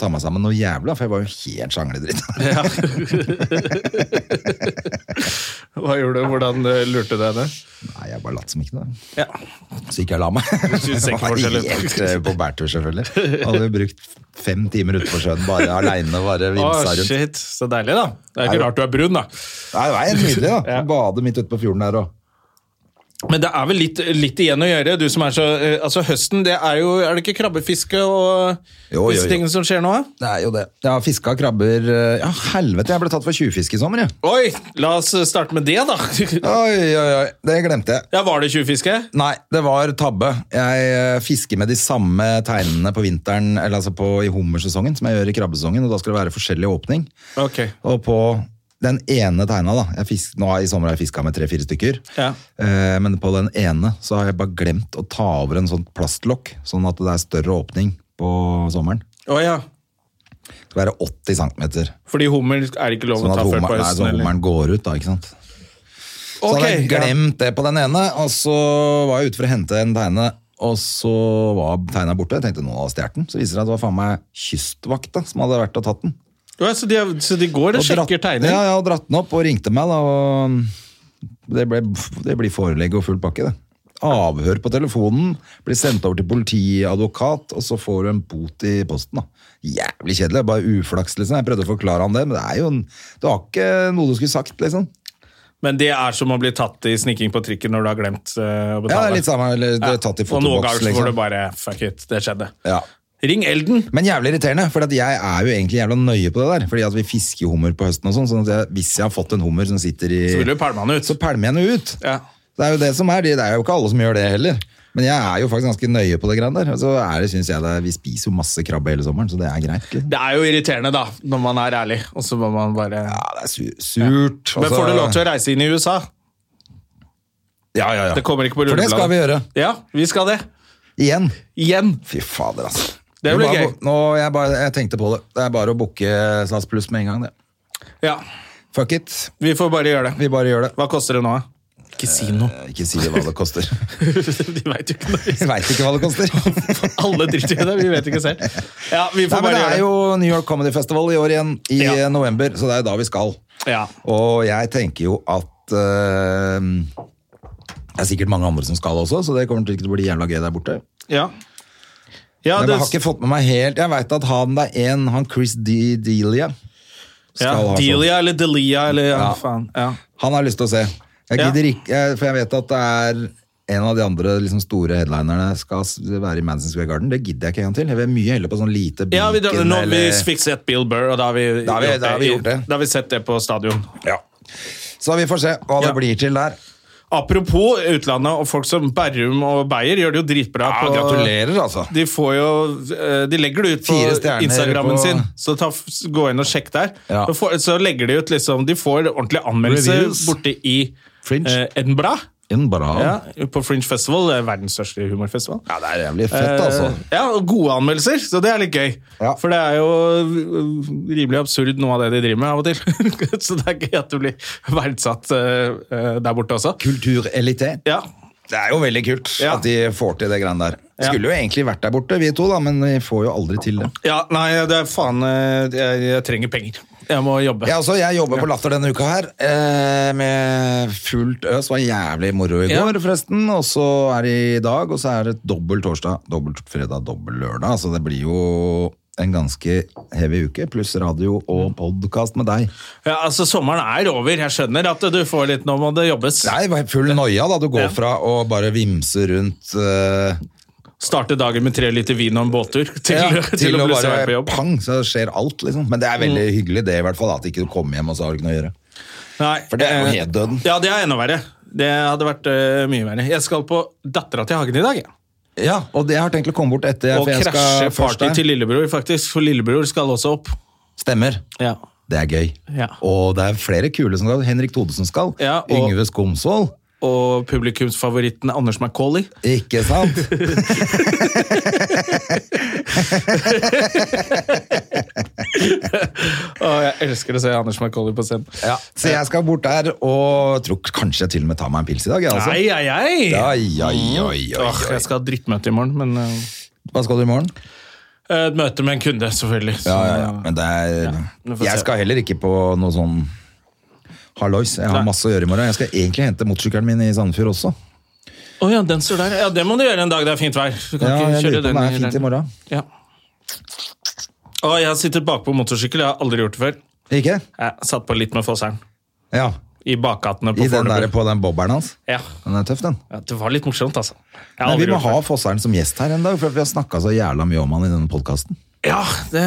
[SPEAKER 1] ta meg sammen noe jævla, for jeg var jo
[SPEAKER 2] *laughs*
[SPEAKER 1] helt sjangledritt.
[SPEAKER 2] Ja. Hva gjorde du? Hvordan eh, lurte du henne?
[SPEAKER 1] Nei, jeg bare latt som ikke noe.
[SPEAKER 2] Ja.
[SPEAKER 1] Så gikk jeg og la meg. *laughs*
[SPEAKER 2] synes ikke
[SPEAKER 1] var
[SPEAKER 2] forskjell, ja.
[SPEAKER 1] helt eh, på bærtur, selvfølgelig. Hadde jo brukt fem timer utenfor sjøen bare aleine, bare
[SPEAKER 2] Å,
[SPEAKER 1] vimsa rundt.
[SPEAKER 2] shit. Så deilig, da. Det er
[SPEAKER 1] Nei,
[SPEAKER 2] ikke rart du er brun, da.
[SPEAKER 1] Nei, det var helt nydelig, da.
[SPEAKER 2] Ja.
[SPEAKER 1] Bade midt ute på fjorden der og
[SPEAKER 2] Men det er vel litt, litt igjen å gjøre. Du som er så, eh, altså Høsten, det er jo Er det ikke krabbefiske og
[SPEAKER 1] Jo, jo,
[SPEAKER 2] disse
[SPEAKER 1] jo.
[SPEAKER 2] tingene som skjer nå? da?
[SPEAKER 1] Det er jo det. Jeg har fiska krabber eh, Ja, helvete, jeg ble tatt for tjuvfiske i sommer, jeg.
[SPEAKER 2] Oi! La oss starte med det, da. *laughs*
[SPEAKER 1] Oi, oi, oi. Det glemte jeg.
[SPEAKER 2] Ja, Var det tjuvfiske?
[SPEAKER 1] Nei, det var tabbe. Jeg eh, fisker med de samme teinene på vinteren, eller altså på, i hummersesongen som jeg gjør i krabbesesongen, og da skal det være forskjellig åpning.
[SPEAKER 2] Ok.
[SPEAKER 1] Og på den ene teina, da jeg fisk, Nå i sommer har jeg fiska med tre-fire stykker.
[SPEAKER 2] Ja.
[SPEAKER 1] Eh, men på den ene så har jeg bare glemt å ta over en sånn plastlokk, sånn at det er større åpning på sommeren.
[SPEAKER 2] Å ja.
[SPEAKER 1] Det skal være 80 cm.
[SPEAKER 2] Fordi hummer er ikke lov
[SPEAKER 1] Sånn
[SPEAKER 2] å
[SPEAKER 1] at
[SPEAKER 2] ta før
[SPEAKER 1] hummer,
[SPEAKER 2] på
[SPEAKER 1] nei,
[SPEAKER 2] høsten?
[SPEAKER 1] sånn
[SPEAKER 2] eller?
[SPEAKER 1] hummeren går ut, da. ikke sant? Så
[SPEAKER 2] Ok,
[SPEAKER 1] hadde jeg glemt det på den ene, og så var jeg ute for å hente en teine, og så var teina borte. Jeg tenkte nå har jeg stjålet den. Så viser det seg at det var faen meg kystvakta som hadde vært og tatt den.
[SPEAKER 2] Ja. Ja, så, de, er- så de går og,
[SPEAKER 1] Og dratt-
[SPEAKER 2] sjekker tegning?
[SPEAKER 1] Ja, ja, og dratt den opp og ringte meg, da. Og det, ble, det blir forelegg og full pakke, det. Avhør på telefonen, blir sendt over til politiadvokat, og så får du en bot i posten. da. Jævlig kjedelig. Bare uflaks, liksom. Jeg prøvde å forklare han det, men det er jo en, du har ikke noe du skulle sagt, liksom.
[SPEAKER 2] Men det er som å bli tatt i sniking på trikken når du har glemt eh, å betale?
[SPEAKER 1] Ja, det er litt samme, eller det
[SPEAKER 2] Ja.
[SPEAKER 1] er tatt i
[SPEAKER 2] Og noen
[SPEAKER 1] fotoboks,
[SPEAKER 2] ganger så får du
[SPEAKER 1] liksom.
[SPEAKER 2] bare Fuck it, det skjedde.
[SPEAKER 1] Ja.
[SPEAKER 2] Ring Elden!
[SPEAKER 1] Men jævlig irriterende, for at jeg er jo egentlig jævla nøye på det der. Fordi at vi fisker jo hummer på høsten og sånn, sånn at jeg, hvis jeg har fått en hummer som sitter i
[SPEAKER 2] Så vil du pælme han ut.
[SPEAKER 1] Så pælmer jeg den ut.
[SPEAKER 2] Ja.
[SPEAKER 1] Det er jo det som er, det er jo ikke alle som gjør det heller. Men jeg er jo faktisk ganske nøye på det greiene der. Og så er det, synes jeg det, Vi spiser jo masse krabbe hele sommeren, så det er greit. liksom.
[SPEAKER 2] Det er jo irriterende, da, når man er ærlig, og så må man bare
[SPEAKER 1] Ja, det er su surt.
[SPEAKER 2] Men får du lov til å reise inn i USA?
[SPEAKER 1] Ja, ja, ja.
[SPEAKER 2] Det kommer ikke på
[SPEAKER 1] For det skal vi
[SPEAKER 2] rullebladet.
[SPEAKER 1] gjøre.
[SPEAKER 2] Ja, vi skal det.
[SPEAKER 1] Igjen.
[SPEAKER 2] Igjen.
[SPEAKER 1] Fy fader, altså.
[SPEAKER 2] Det blir
[SPEAKER 1] Vi bare-
[SPEAKER 2] gøy.
[SPEAKER 1] Nå, jeg, bare, jeg tenkte på det. Det er bare å booke SAS Pluss med en gang, det.
[SPEAKER 2] Ja,
[SPEAKER 1] Fuck it.
[SPEAKER 2] vi får bare gjøre det.
[SPEAKER 1] Vi bare gjør det.
[SPEAKER 2] Hva koster det nå? Ikke si noe.
[SPEAKER 1] Ikke si hva det koster.
[SPEAKER 2] *laughs* De veit jo ikke noe.
[SPEAKER 1] Jeg veit ikke hva det koster.
[SPEAKER 2] Alle driter i det, vi vet ikke selv. *laughs* Ja, vi
[SPEAKER 1] Nei,
[SPEAKER 2] får bare
[SPEAKER 1] men det er
[SPEAKER 2] gjøre
[SPEAKER 1] jo New York Comedy Festival i år igjen, i
[SPEAKER 2] Ja.
[SPEAKER 1] november, så det er jo da vi skal.
[SPEAKER 2] det. Ja.
[SPEAKER 1] Og jeg tenker jo at eh, det er sikkert mange andre som skal også, så det kommer til ikke til å bli jævla gøy der borte.
[SPEAKER 2] Ja. Ja,
[SPEAKER 1] Men
[SPEAKER 2] det,
[SPEAKER 1] jeg har ikke fått med meg helt Jeg veit at han det er en, han Chris D. Delia
[SPEAKER 2] ja,
[SPEAKER 1] skal ha sånn.
[SPEAKER 2] Delia eller Delia eller altså. ja,
[SPEAKER 1] Ja.
[SPEAKER 2] faen. Ja.
[SPEAKER 1] Han har jeg lyst til å se. Jeg
[SPEAKER 2] Ja.
[SPEAKER 1] gidder ikke, jeg- For jeg vet at det er en av de andre liksom, store headlinerne skal s- være i Madison Square Garden. Det gidder jeg ikke en gang til. Jeg vil mye heller på sånn lite
[SPEAKER 2] Ja, vi, da, nå har vi
[SPEAKER 1] eller-
[SPEAKER 2] fikk sett Bill Burr, og da har vi,
[SPEAKER 1] Da har vi- da har vi gjort det.
[SPEAKER 2] Da har vi sett det på stadion.
[SPEAKER 1] ja. Så vi får se hva
[SPEAKER 2] Ja.
[SPEAKER 1] det blir til der.
[SPEAKER 2] Apropos utlandet og folk som Berrum og Beyer gjør det jo dritbra. på-
[SPEAKER 1] altså.
[SPEAKER 2] De får jo eh, De legger det ut på
[SPEAKER 1] Fire stjerner
[SPEAKER 2] Instagrammen
[SPEAKER 1] på-
[SPEAKER 2] sin, så ta, gå inn og sjekk der.
[SPEAKER 1] Ja.
[SPEAKER 2] Så, får, så legger de ut liksom De får ordentlig anmeldelse
[SPEAKER 1] Reviews.
[SPEAKER 2] borte i
[SPEAKER 1] Fringe.
[SPEAKER 2] eh, Edinburgh.
[SPEAKER 1] En bra.
[SPEAKER 2] Ja,
[SPEAKER 1] Ja.
[SPEAKER 2] på Fringe Festival, eh, verdens største humorfestival.
[SPEAKER 1] det er jævlig fett, altså.
[SPEAKER 2] Eh, Ja, og gode anmeldelser, så det er litt gøy.
[SPEAKER 1] Ja.
[SPEAKER 2] For det er jo eh, rimelig absurd noe av det de driver med av og til. *laughs* så det er gøy at du blir verdsatt eh, eh, der borte også.
[SPEAKER 1] Kulturelite.
[SPEAKER 2] Ja,
[SPEAKER 1] Det er jo veldig kult
[SPEAKER 2] Ja.
[SPEAKER 1] at de får til det greiene der.
[SPEAKER 2] Ja.
[SPEAKER 1] Skulle jo egentlig vært der borte, vi to, da, men vi får jo aldri til det.
[SPEAKER 2] ja nei, det er faen eh, jeg, jeg trenger penger. Jeg må jobbe.
[SPEAKER 1] Jeg, også, altså, jeg jobber på Latter denne uka her, eh, med fullt øs. Det var jævlig moro i
[SPEAKER 2] Ja.
[SPEAKER 1] går, forresten. Og så er det i dag, og så er det dobbel torsdag, dobbel fredag, dobbel lørdag. Så det blir jo en ganske heavy uke, pluss radio og podkast med deg.
[SPEAKER 2] Ja, altså Sommeren er over. Jeg skjønner at du får litt Nå må det jobbes.
[SPEAKER 1] Det er full noia, da. Du går fra å bare vimse rundt eh,
[SPEAKER 2] Starte dagen med tre liter vin og en båttur *laughs* til,
[SPEAKER 1] ja,
[SPEAKER 2] til, å bli svært på jobb. Mm.
[SPEAKER 1] pang, så skjer alt, liksom. Men det er veldig hyggelig, det, i hvert fall. At ikke du kommer hjem og så har du ikke noe å gjøre.
[SPEAKER 2] Nei,
[SPEAKER 1] For det er jo
[SPEAKER 2] eh,
[SPEAKER 1] helt døden.
[SPEAKER 2] Ja, det er enda verre. Det hadde vært eh, mye verre. Jeg skal på Dattera til Hagen i dag. jeg.
[SPEAKER 1] Ja, og det jeg har tenkt å komme bort etter.
[SPEAKER 2] Og
[SPEAKER 1] for jeg skal
[SPEAKER 2] krasje
[SPEAKER 1] først
[SPEAKER 2] party
[SPEAKER 1] der.
[SPEAKER 2] til lillebror, faktisk. For lillebror skal også opp.
[SPEAKER 1] Stemmer.
[SPEAKER 2] Ja.
[SPEAKER 1] Det er gøy.
[SPEAKER 2] Ja.
[SPEAKER 1] Og det er flere kule som skal. Henrik Thodesen skal.
[SPEAKER 2] Ja, og-
[SPEAKER 1] Yngve Skomsvold.
[SPEAKER 2] Og publikumsfavoritten Anders Macauley.
[SPEAKER 1] Ikke sant?
[SPEAKER 2] *laughs* Å, jeg elsker å se Anders Macauley på scenen.
[SPEAKER 1] Så jeg skal bort der, og tror kanskje jeg til og med tar meg en pils i dag. jeg, Altså.
[SPEAKER 2] Nei, ei, ei!
[SPEAKER 1] Ai, ai, ai, ai,
[SPEAKER 2] Åh,
[SPEAKER 1] ai.
[SPEAKER 2] jeg skal ha drittmøte i morgen, men eh,
[SPEAKER 1] Hva skal du i morgen?
[SPEAKER 2] Et møte med en kunde, selvfølgelig. Så,
[SPEAKER 1] Ja, ja, ja. Men det er
[SPEAKER 2] vi får se.
[SPEAKER 1] Jeg skal heller ikke på noe sånn hallois. Jeg har
[SPEAKER 2] Nei.
[SPEAKER 1] masse å gjøre i morgen. Jeg skal egentlig hente motorsykkelen min i Sandefjord også.
[SPEAKER 2] Å ja, den står der. Ja, det må du gjøre en dag det er fint vær. Du kan
[SPEAKER 1] Ja,
[SPEAKER 2] ikke
[SPEAKER 1] jeg lurer
[SPEAKER 2] kjøre
[SPEAKER 1] på
[SPEAKER 2] den
[SPEAKER 1] om det er fint i morgen.
[SPEAKER 2] Ja. Å, jeg har sittet bakpå motorsykkel, jeg har aldri gjort det før.
[SPEAKER 1] Ikke?
[SPEAKER 2] Jeg satt på litt med Fosseren.
[SPEAKER 1] Ja.
[SPEAKER 2] I bakgatene på
[SPEAKER 1] I den der
[SPEAKER 2] Fornebu.
[SPEAKER 1] på den bobberen hans.
[SPEAKER 2] Ja.
[SPEAKER 1] Den er tøff, den.
[SPEAKER 2] ja, det var litt morsomt, altså. Jeg har
[SPEAKER 1] Men
[SPEAKER 2] aldri
[SPEAKER 1] vi må
[SPEAKER 2] gjort
[SPEAKER 1] ha
[SPEAKER 2] det.
[SPEAKER 1] Fosseren som gjest her en dag, for vi har snakka så jævla mye om han i denne podkasten.
[SPEAKER 2] Ja, det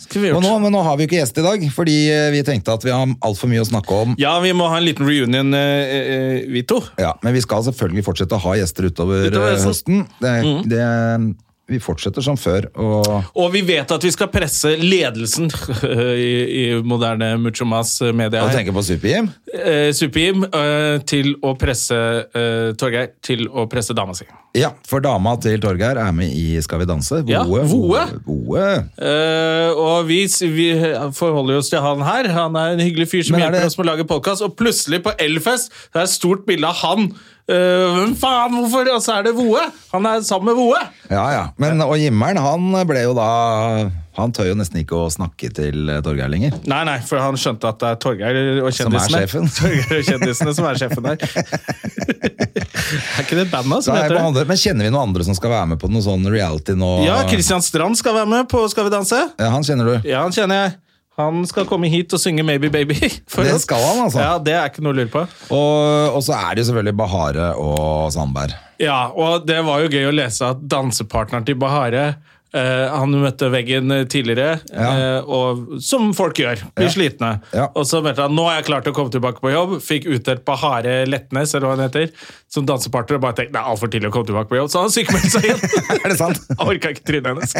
[SPEAKER 2] skulle vi
[SPEAKER 1] Og
[SPEAKER 2] gjort.
[SPEAKER 1] nå, men nå har vi jo ikke gjest i dag, fordi eh, vi tenkte at vi har altfor mye å snakke om.
[SPEAKER 2] Ja, vi må ha en liten reunion, eh, eh, vi to.
[SPEAKER 1] Ja, Men vi skal selvfølgelig fortsette å ha gjester utover,
[SPEAKER 2] Utover
[SPEAKER 1] eh,
[SPEAKER 2] høsten. Mm.
[SPEAKER 1] høsten. Det, det, vi fortsetter som før. Og
[SPEAKER 2] Og vi vet at vi skal presse ledelsen *laughs* i, i moderne Mucho Mas eh, media
[SPEAKER 1] og
[SPEAKER 2] her.
[SPEAKER 1] tenker på Super-Jim.
[SPEAKER 2] Eh, Super-Jim eh, til å presse eh, Torgeir til å presse dama si.
[SPEAKER 1] Ja, for dama til Torgeir er med i Skal vi danse. Voe.
[SPEAKER 2] Ja, Voe.
[SPEAKER 1] Voe. Voe.
[SPEAKER 2] Eh, og vi, vi forholder oss til han her. Han er en hyggelig fyr som
[SPEAKER 1] Men er
[SPEAKER 2] hjelper
[SPEAKER 1] det-
[SPEAKER 2] oss med å lage podkast. Og plutselig på Elfest det er et stort bilde av han. Eh, Hvem faen, hvorfor? Og så er det Voe! Han er sammen med Voe!
[SPEAKER 1] Ja, ja. Men, og Jimmeren, han ble jo da Han tør jo nesten ikke å snakke til eh, Torgeir lenger.
[SPEAKER 2] Nei, nei, for han skjønte at det er Torgeir og
[SPEAKER 1] Som
[SPEAKER 2] kjendisene.
[SPEAKER 1] er sjefen.
[SPEAKER 2] *laughs* Torgeir og kjendisene som er sjefen der.
[SPEAKER 1] *laughs*
[SPEAKER 2] er ikke det bandet som
[SPEAKER 1] Nei,
[SPEAKER 2] heter
[SPEAKER 1] men
[SPEAKER 2] det?
[SPEAKER 1] andre, men kjenner vi noen andre som skal være med på noe sånn reality nå?
[SPEAKER 2] Ja, Christian Strand skal være med på Skal vi danse.
[SPEAKER 1] Ja, han kjenner du.
[SPEAKER 2] Ja, han kjenner jeg. Han skal komme hit og synge Maybe Baby. *laughs* for
[SPEAKER 1] Det
[SPEAKER 2] oss.
[SPEAKER 1] skal han, altså.
[SPEAKER 2] Ja, Det er ikke noe å lure på.
[SPEAKER 1] Og, og så er det jo selvfølgelig Bahare og Sandberg. *laughs*
[SPEAKER 2] Ja, og det var jo gøy å lese at dansepartneren til Bahare Eh, han møtte veggen eh, tidligere,
[SPEAKER 1] Ja.
[SPEAKER 2] eh, og, som folk gjør. Blir slitne.
[SPEAKER 1] Ja.
[SPEAKER 2] Og så mente han nå er jeg klar til å komme tilbake på jobb. Fikk utdelt på Hare Letnes eller hva han heter, som dansepartner. Og bare tenkte det er altfor tidlig å komme tilbake på jobb, så han sykemeldte seg igjen. *laughs*
[SPEAKER 1] Er det sant?
[SPEAKER 2] Jeg orka ikke trynet
[SPEAKER 1] *laughs*
[SPEAKER 2] hennes.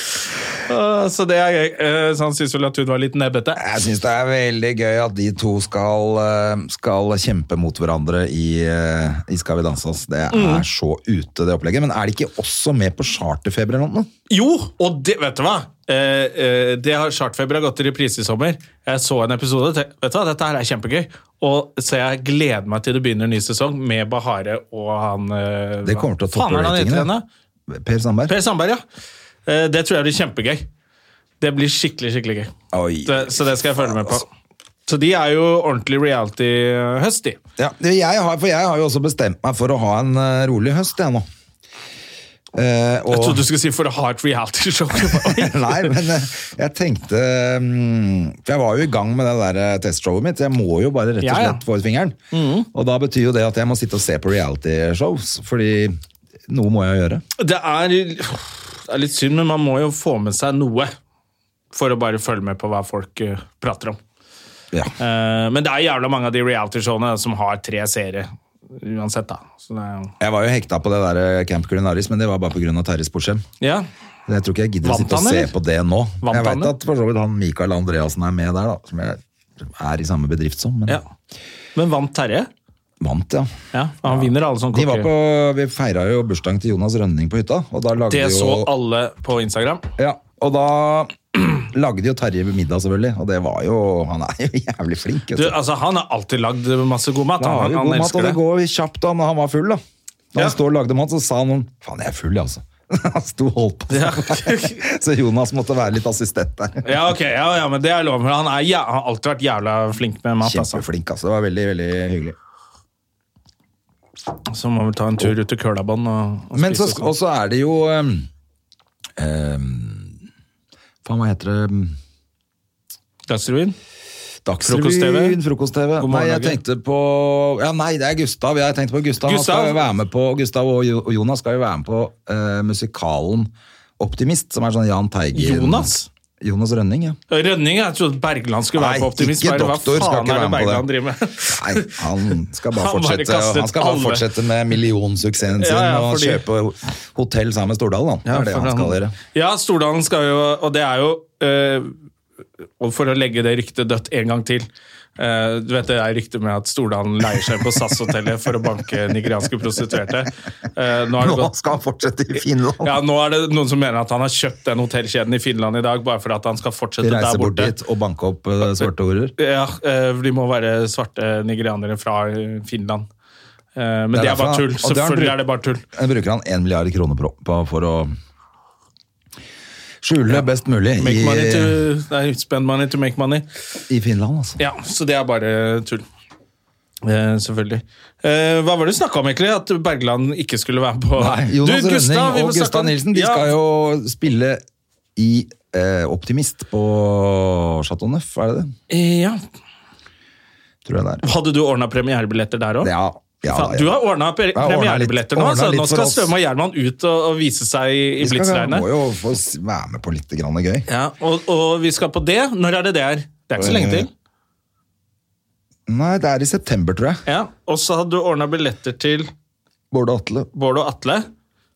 [SPEAKER 2] *laughs* Ah, så det er gøy. Eh, så han syns vel at hun var litt nebbete.
[SPEAKER 1] Jeg syns det er veldig gøy at de to skal, eh, skal kjempe mot hverandre i, eh, i Skal vi danse oss. Det er
[SPEAKER 2] Mm.
[SPEAKER 1] så ute, det opplegget. Men er de ikke også med på charterfeber eller noe?
[SPEAKER 2] Jo, og det, vet du hva? Eh, eh, det har Chartfeber har gått i reprise i sommer. Jeg så en episode. Te, vet du hva, Dette her er kjempegøy. Og, så jeg gleder meg til det begynner en ny sesong med Bahare og han eh,
[SPEAKER 1] Det kommer til å toppe
[SPEAKER 2] Faen, er det han heter
[SPEAKER 1] ratingene.
[SPEAKER 2] igjen, da?
[SPEAKER 1] Per Sandberg?
[SPEAKER 2] Per Sandberg, ja. Eh, det tror jeg blir kjempegøy. Det blir skikkelig, skikkelig gøy.
[SPEAKER 1] Oi.
[SPEAKER 2] Det, så det skal jeg følge med på. Så de er jo ordentlig reality-høst, de.
[SPEAKER 1] Ja, det- jeg har, for jeg har jo også bestemt meg for å ha en eh, rolig høst, jeg nå. Eh, og-
[SPEAKER 2] Jeg
[SPEAKER 1] *laughs*
[SPEAKER 2] trodde du skulle si for å ha et reality-show.
[SPEAKER 1] Nei, men eh, jeg tenkte mm, For jeg var jo i gang med det der eh, testshowet mitt. Jeg må jo bare rett og
[SPEAKER 2] Ja, Mm. ja.
[SPEAKER 1] slett få ut fingeren. Og da betyr jo det at jeg må sitte og se på realityshows, fordi noe må jeg gjøre.
[SPEAKER 2] Det er, det er litt synd, men man må jo få med seg noe for å bare følge med på hva folk eh, prater om.
[SPEAKER 1] Ja.
[SPEAKER 2] Eh, men det er jævla mange av de realityshowene som har tre seere uansett, da. Så det er,
[SPEAKER 1] Jeg var jo hekta på det der eh, Camp Culinaris, men det var bare pga. Terje Sporsem.
[SPEAKER 2] ja.
[SPEAKER 1] Jeg tror ikke jeg gidder å
[SPEAKER 2] Vant
[SPEAKER 1] sitte og
[SPEAKER 2] han,
[SPEAKER 1] se
[SPEAKER 2] eller?
[SPEAKER 1] på det nå.
[SPEAKER 2] Vant
[SPEAKER 1] jeg
[SPEAKER 2] han,
[SPEAKER 1] veit
[SPEAKER 2] eller?
[SPEAKER 1] at for så vidt han Mikael Andreassen er med der, da, som jeg er i samme bedrift som, men
[SPEAKER 2] ja. Men vant Terje?
[SPEAKER 1] vant, ja.
[SPEAKER 2] Ja, Han vinner alle sånne
[SPEAKER 1] De var på,
[SPEAKER 2] kokker.
[SPEAKER 1] vi feira jo bursdagen til Jonas Rønning på hytta, og da lagde
[SPEAKER 2] Det
[SPEAKER 1] jo
[SPEAKER 2] så alle på Instagram.
[SPEAKER 1] Ja, og da *clears throat* lagde jo Terje middag selvfølgelig, og det var jo, han er jo *laughs* jævlig flink. vet
[SPEAKER 2] Du,
[SPEAKER 1] Du,
[SPEAKER 2] altså, Han har alltid lagd masse god mat.
[SPEAKER 1] han har
[SPEAKER 2] Han,
[SPEAKER 1] jo
[SPEAKER 2] han,
[SPEAKER 1] god mat, og
[SPEAKER 2] elsker
[SPEAKER 1] det
[SPEAKER 2] det.
[SPEAKER 1] går kjapt, og han, han var full da. Da
[SPEAKER 2] Ja.
[SPEAKER 1] han stod og lagde mat, så sa han, faen jeg er full altså. *laughs* Han sto og holdt på.
[SPEAKER 2] Ja.
[SPEAKER 1] *laughs* så Jonas måtte være litt assistent der.
[SPEAKER 2] Ja, ok, ja, ja, men det er lov. Men han, er, jæ- han har alltid vært jævla flink med mat. Altså.
[SPEAKER 1] Kjempeflink altså, det var veldig, veldig hyggelig.
[SPEAKER 2] Så må vi ta en tur ut til Kølabånd og, og
[SPEAKER 1] Men så,
[SPEAKER 2] spise. sånn. oss noe.
[SPEAKER 1] og så er det jo, um, um, faen hva heter det?
[SPEAKER 2] Dagsrevyen?
[SPEAKER 1] Dagsrevyen,
[SPEAKER 2] Frokost-TV. God
[SPEAKER 1] frokost-TV.
[SPEAKER 2] morgen,
[SPEAKER 1] Nei, jeg
[SPEAKER 2] Norge.
[SPEAKER 1] tenkte på Ja, nei, det er Gustav. Jeg tenkte på Gustav. Han
[SPEAKER 2] Gustav?
[SPEAKER 1] skal jo være med på, Gustav og Jo- og Jonas skal jo være med på eh, musikalen Optimist, som er sånn Jahn Teigen
[SPEAKER 2] Jonas?
[SPEAKER 1] Jonas Rønning, ja.
[SPEAKER 2] Rønning, jeg trodde Bergland skulle være
[SPEAKER 1] Nei,
[SPEAKER 2] på Optimist.
[SPEAKER 1] ikke
[SPEAKER 2] Bare,
[SPEAKER 1] doktor
[SPEAKER 2] Hva
[SPEAKER 1] skal
[SPEAKER 2] faen
[SPEAKER 1] ikke
[SPEAKER 2] er
[SPEAKER 1] være
[SPEAKER 2] det
[SPEAKER 1] med på
[SPEAKER 2] Bergland
[SPEAKER 1] det.
[SPEAKER 2] driver med? *laughs*
[SPEAKER 1] Nei, han skal bare
[SPEAKER 2] Han bare
[SPEAKER 1] fortsette
[SPEAKER 2] kastet
[SPEAKER 1] Han skal bare
[SPEAKER 2] alle.
[SPEAKER 1] fortsette med millionsuksessen sin
[SPEAKER 2] Ja, ja,
[SPEAKER 1] og
[SPEAKER 2] fordi-
[SPEAKER 1] kjøpe ho- hotell sammen med Stordalen. da. Det er det
[SPEAKER 2] for
[SPEAKER 1] han skal gjøre.
[SPEAKER 2] Ja, Stordalen skal jo Og det er jo eh, Og for å legge det ryktet dødt en gang til eh, Du vet det er ryktet med at Stordalen leier seg på SAS-hotellet for å banke nigerianske prostituerte. Eh, nå, har det
[SPEAKER 1] Nå
[SPEAKER 2] gått,
[SPEAKER 1] skal han fortsette i Finland!
[SPEAKER 2] ja, nå er det noen som mener at han har kjøpt den hotellkjeden i Finland i dag bare for at han skal fortsette der
[SPEAKER 1] Reise bort
[SPEAKER 2] borte.
[SPEAKER 1] dit og banke opp eh, svarte horer.
[SPEAKER 2] Ja, eh, de må være svarte nigerianere fra eh, Finland. Eh, Men det er,
[SPEAKER 1] derfor
[SPEAKER 2] bare
[SPEAKER 1] han-
[SPEAKER 2] tull.
[SPEAKER 1] og det har han
[SPEAKER 2] Selvfølgelig
[SPEAKER 1] brukt-
[SPEAKER 2] er det bare tull.
[SPEAKER 1] Da bruker han 1 milliard kroner på, på, for å skjule best mulig
[SPEAKER 2] Make
[SPEAKER 1] i,
[SPEAKER 2] money to, nei, spend money to make money.
[SPEAKER 1] i Finland. Altså.
[SPEAKER 2] Ja, Så det er bare tull. Eh, selvfølgelig. Eh, hva var det du snakka om, egentlig? At Bergland ikke skulle være på
[SPEAKER 1] Nei, Jonas
[SPEAKER 2] Du, Gustav, vi
[SPEAKER 1] Rønning
[SPEAKER 2] må
[SPEAKER 1] og
[SPEAKER 2] snakke
[SPEAKER 1] Gustav
[SPEAKER 2] om-
[SPEAKER 1] Nilsen de
[SPEAKER 2] Ja,
[SPEAKER 1] skal jo spille i eh, Optimist på Chateau Neuf, er det det?
[SPEAKER 2] eh, ja.
[SPEAKER 1] Tror jeg det er.
[SPEAKER 2] Hadde du ordna premierebilletter der òg?
[SPEAKER 1] Ja, ja,
[SPEAKER 2] Faen,
[SPEAKER 1] ja.
[SPEAKER 2] Du har ordna pre
[SPEAKER 1] har ordnet litt-
[SPEAKER 2] premierebilletter nå,
[SPEAKER 1] ordnet
[SPEAKER 2] altså.
[SPEAKER 1] litt
[SPEAKER 2] Nå
[SPEAKER 1] for
[SPEAKER 2] skal
[SPEAKER 1] oss.
[SPEAKER 2] Svømme og Gjerman ut og, og vise seg i, i
[SPEAKER 1] Vi skal,
[SPEAKER 2] Blitzregnet.
[SPEAKER 1] må jo få s- være med på litt grann gøy.
[SPEAKER 2] Ja, og, og vi skal på det. Når er det det er? Det er ikke så lenge
[SPEAKER 1] Eh.
[SPEAKER 2] til.
[SPEAKER 1] Nei, det er i september, tror jeg.
[SPEAKER 2] Ja, Og så hadde du ordna billetter til
[SPEAKER 1] Bård og Atle.
[SPEAKER 2] Bård og Atle.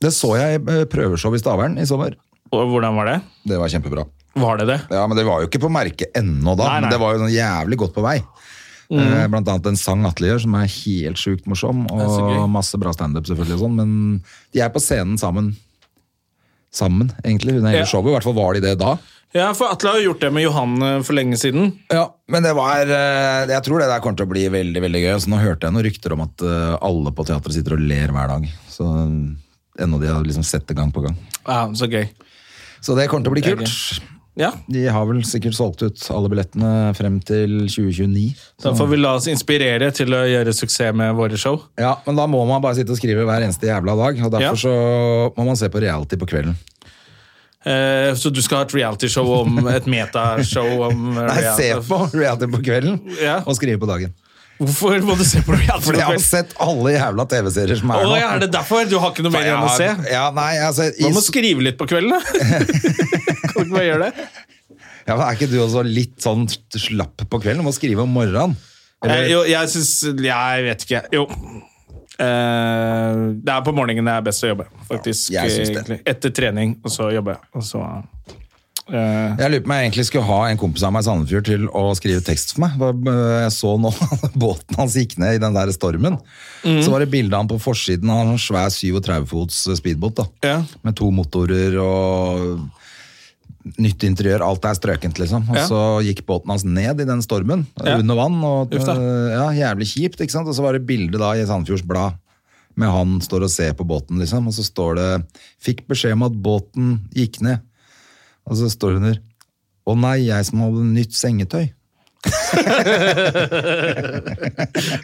[SPEAKER 1] Det så jeg i eh, prøveshow i Stavern i sommer.
[SPEAKER 2] Og hvordan var det?
[SPEAKER 1] Det var kjempebra.
[SPEAKER 2] Var det det?
[SPEAKER 1] Ja, men det var jo ikke på merket ennå
[SPEAKER 2] Nei,
[SPEAKER 1] da,
[SPEAKER 2] nei. Mm.
[SPEAKER 1] men det var jo sånn jævlig godt på vei. Eh, Blant annet en sang Atle gjør, som er helt sjukt morsom,
[SPEAKER 2] er så
[SPEAKER 1] og
[SPEAKER 2] gøy.
[SPEAKER 1] masse bra standup selvfølgelig og sånn, men de er på scenen sammen. Sammen, egentlig, under hele
[SPEAKER 2] Ja.
[SPEAKER 1] showet. I hvert fall var de det da.
[SPEAKER 2] Ja, for Atle har jo gjort det med Johan eh, for lenge siden.
[SPEAKER 1] Ja, men det var eh, Jeg tror det der kommer til å bli veldig, veldig gøy. Så nå hørte jeg noen rykter om at eh, alle på teatret sitter og ler hver dag. Så eh, ennå de har liksom sett det gang på gang.
[SPEAKER 2] Ja, Så gøy.
[SPEAKER 1] Så det kommer til å bli
[SPEAKER 2] Det er
[SPEAKER 1] kult.
[SPEAKER 2] Ja,
[SPEAKER 1] De har vel sikkert solgt ut alle billettene frem til 2029.
[SPEAKER 2] Da får vi la oss inspirere til å gjøre suksess med våre show.
[SPEAKER 1] Ja, men da må man bare sitte og skrive hver eneste jævla dag, og derfor
[SPEAKER 2] Ja.
[SPEAKER 1] så må man se på reality på kvelden.
[SPEAKER 2] Eh, så du skal ha et realityshow om et metashow om
[SPEAKER 1] Nei, se
[SPEAKER 2] reality-
[SPEAKER 1] på reality på kvelden,
[SPEAKER 2] Ja.
[SPEAKER 1] og skrive på dagen.
[SPEAKER 2] Hvorfor må du se på reality?
[SPEAKER 1] Fordi jeg har
[SPEAKER 2] Nobel?
[SPEAKER 1] sett alle jævla TV-serier som er
[SPEAKER 2] Å
[SPEAKER 1] nå.
[SPEAKER 2] ja, er det derfor? Du har ikke noe mer
[SPEAKER 1] Jeg
[SPEAKER 2] igjen å
[SPEAKER 1] har-
[SPEAKER 2] se?
[SPEAKER 1] Ja, nei, altså, i,
[SPEAKER 2] Man må skrive litt på kvelden, da. kan
[SPEAKER 1] *laughs*
[SPEAKER 2] du ikke bare gjøre det?
[SPEAKER 1] ja, men er ikke du også litt sånn slapp på kvelden? Du må skrive om morgenen.
[SPEAKER 2] Eh, jo, jeg syns Jeg vet ikke. Jo. Eh, det er på morgenen det er best å jobbe, faktisk.
[SPEAKER 1] Ja, jeg syns det.
[SPEAKER 2] egentlig. Etter trening, og så jobbe. Og så eh,
[SPEAKER 1] Jeg lurer på om jeg egentlig skulle ha en kompis av meg i Sandefjord til å skrive tekst for meg. Hva- øh, Jeg så nå *laughs* båten hans gikk ned i den der stormen.
[SPEAKER 2] Mm.
[SPEAKER 1] Så var det bilde av han på forsiden av en svær 37-fots speedbåt. da.
[SPEAKER 2] Ja.
[SPEAKER 1] Med to motorer og nytt interiør. Alt er strøkent, liksom. Og
[SPEAKER 2] Ja.
[SPEAKER 1] så gikk båten hans ned i den stormen,
[SPEAKER 2] Ja.
[SPEAKER 1] under vann. Og,
[SPEAKER 2] Uff da.
[SPEAKER 1] øh, ja, Jævlig kjipt, ikke sant. Og så var det bilde da i Sandefjords Blad. Med han står og ser på båten, liksom, og så står det 'Fikk beskjed om at båten gikk ned'. Og så står det under Å nei, jeg som hadde nytt sengetøy.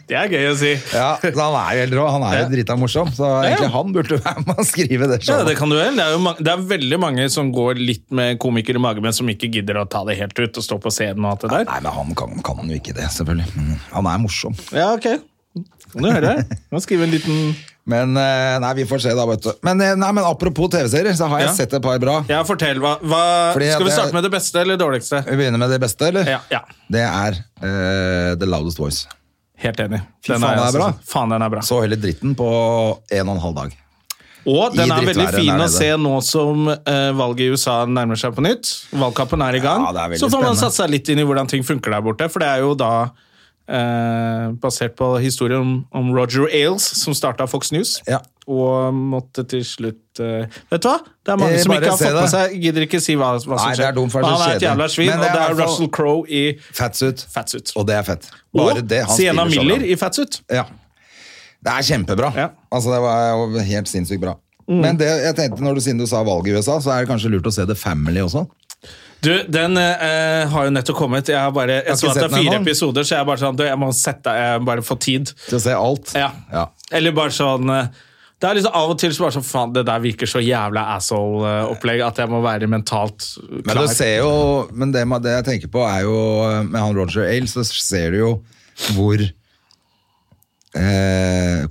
[SPEAKER 2] Det er gøy å si.
[SPEAKER 1] Ja, *laughs* så Han er jo helt rå. Han er jo drita morsom. Så egentlig han burde være med å skrive det
[SPEAKER 2] Ja,
[SPEAKER 1] showet.
[SPEAKER 2] det kan du vel. Det er, jo mange, det er veldig mange som går litt med komiker i magen, men som ikke gidder å ta det helt ut og stå på scenen og alt det der.
[SPEAKER 1] Nei, men han kan, kan jo ikke det, selvfølgelig. Men Han er morsom.
[SPEAKER 2] Ja, ok. Kan du høre? Nå skriver en liten
[SPEAKER 1] Men eh, nei, vi får se, da, vet du. Men, eh, nei, men apropos TV-serier, så har jeg
[SPEAKER 2] Ja.
[SPEAKER 1] sett et par bra.
[SPEAKER 2] Ja, fortell. Hva, hva
[SPEAKER 1] Fordi
[SPEAKER 2] Skal vi
[SPEAKER 1] det-
[SPEAKER 2] starte med det beste eller dårligste?
[SPEAKER 1] Vi begynner med det beste, eller?
[SPEAKER 2] Ja, ja.
[SPEAKER 1] Det er eh, The Loudest Voice.
[SPEAKER 2] Helt enig.
[SPEAKER 1] Fy faen, den er
[SPEAKER 2] jeg
[SPEAKER 1] bra.
[SPEAKER 2] også- Faen, den er bra.
[SPEAKER 1] Så heller dritten på en og en halv dag.
[SPEAKER 2] Og den
[SPEAKER 1] I
[SPEAKER 2] er veldig
[SPEAKER 1] drittværet
[SPEAKER 2] fin
[SPEAKER 1] der
[SPEAKER 2] å
[SPEAKER 1] nede.
[SPEAKER 2] se nå som eh, valget i USA nærmer seg på nytt. Valgkampen er i gang.
[SPEAKER 1] Ja, det er veldig
[SPEAKER 2] så får man
[SPEAKER 1] spennende.
[SPEAKER 2] satt seg litt inn i hvordan ting funker der borte, for det er jo da eh, basert på historien om, om Roger Ailes, som starta Fox News.
[SPEAKER 1] Ja.
[SPEAKER 2] Og måtte til slutt eh, Vet du hva? Det er mange
[SPEAKER 1] Eh,
[SPEAKER 2] som
[SPEAKER 1] bare
[SPEAKER 2] ikke har
[SPEAKER 1] se
[SPEAKER 2] fått med
[SPEAKER 1] det.
[SPEAKER 2] seg Gidder ikke si hva, hva som
[SPEAKER 1] Nei, det er dumt, for det er
[SPEAKER 2] Men Han er
[SPEAKER 1] så
[SPEAKER 2] et
[SPEAKER 1] kjedelig.
[SPEAKER 2] jævla svin,
[SPEAKER 1] Men
[SPEAKER 2] og
[SPEAKER 1] det er
[SPEAKER 2] det er
[SPEAKER 1] i hvert fall-
[SPEAKER 2] Russell Crowe i
[SPEAKER 1] Fatsuit.
[SPEAKER 2] Fatsuit.
[SPEAKER 1] Og det er fett.
[SPEAKER 2] Og
[SPEAKER 1] Bare det. Han
[SPEAKER 2] Sienna
[SPEAKER 1] spiller så bra.
[SPEAKER 2] Miller i Fatsuit.
[SPEAKER 1] Ja. Det er kjempebra.
[SPEAKER 2] Ja. Mm.
[SPEAKER 1] Altså, det var jo helt sinnssykt bra. Men det, jeg tenkte, når du, siden du sa valget i USA, så er det kanskje lurt å se The Family også.
[SPEAKER 2] Du, den eh, har jo nettopp kommet. Jeg, har bare, jeg
[SPEAKER 1] ikke
[SPEAKER 2] så at det
[SPEAKER 1] sett
[SPEAKER 2] er
[SPEAKER 1] den
[SPEAKER 2] fire
[SPEAKER 1] ennå.
[SPEAKER 2] episoder, så jeg er bare sånn, du, jeg må sette, jeg må bare få tid.
[SPEAKER 1] Til å se alt.
[SPEAKER 2] Ja.
[SPEAKER 1] Ja.
[SPEAKER 2] Eller bare sånn eh, Det er liksom av og til så bare sånn Faen, det der virker så jævla asshole-opplegg at jeg må være mentalt
[SPEAKER 1] Men,
[SPEAKER 2] klar.
[SPEAKER 1] du ser jo, men det, med- det jeg tenker på, er jo eh, Med han Roger Ailes, så ser du jo hvor eh,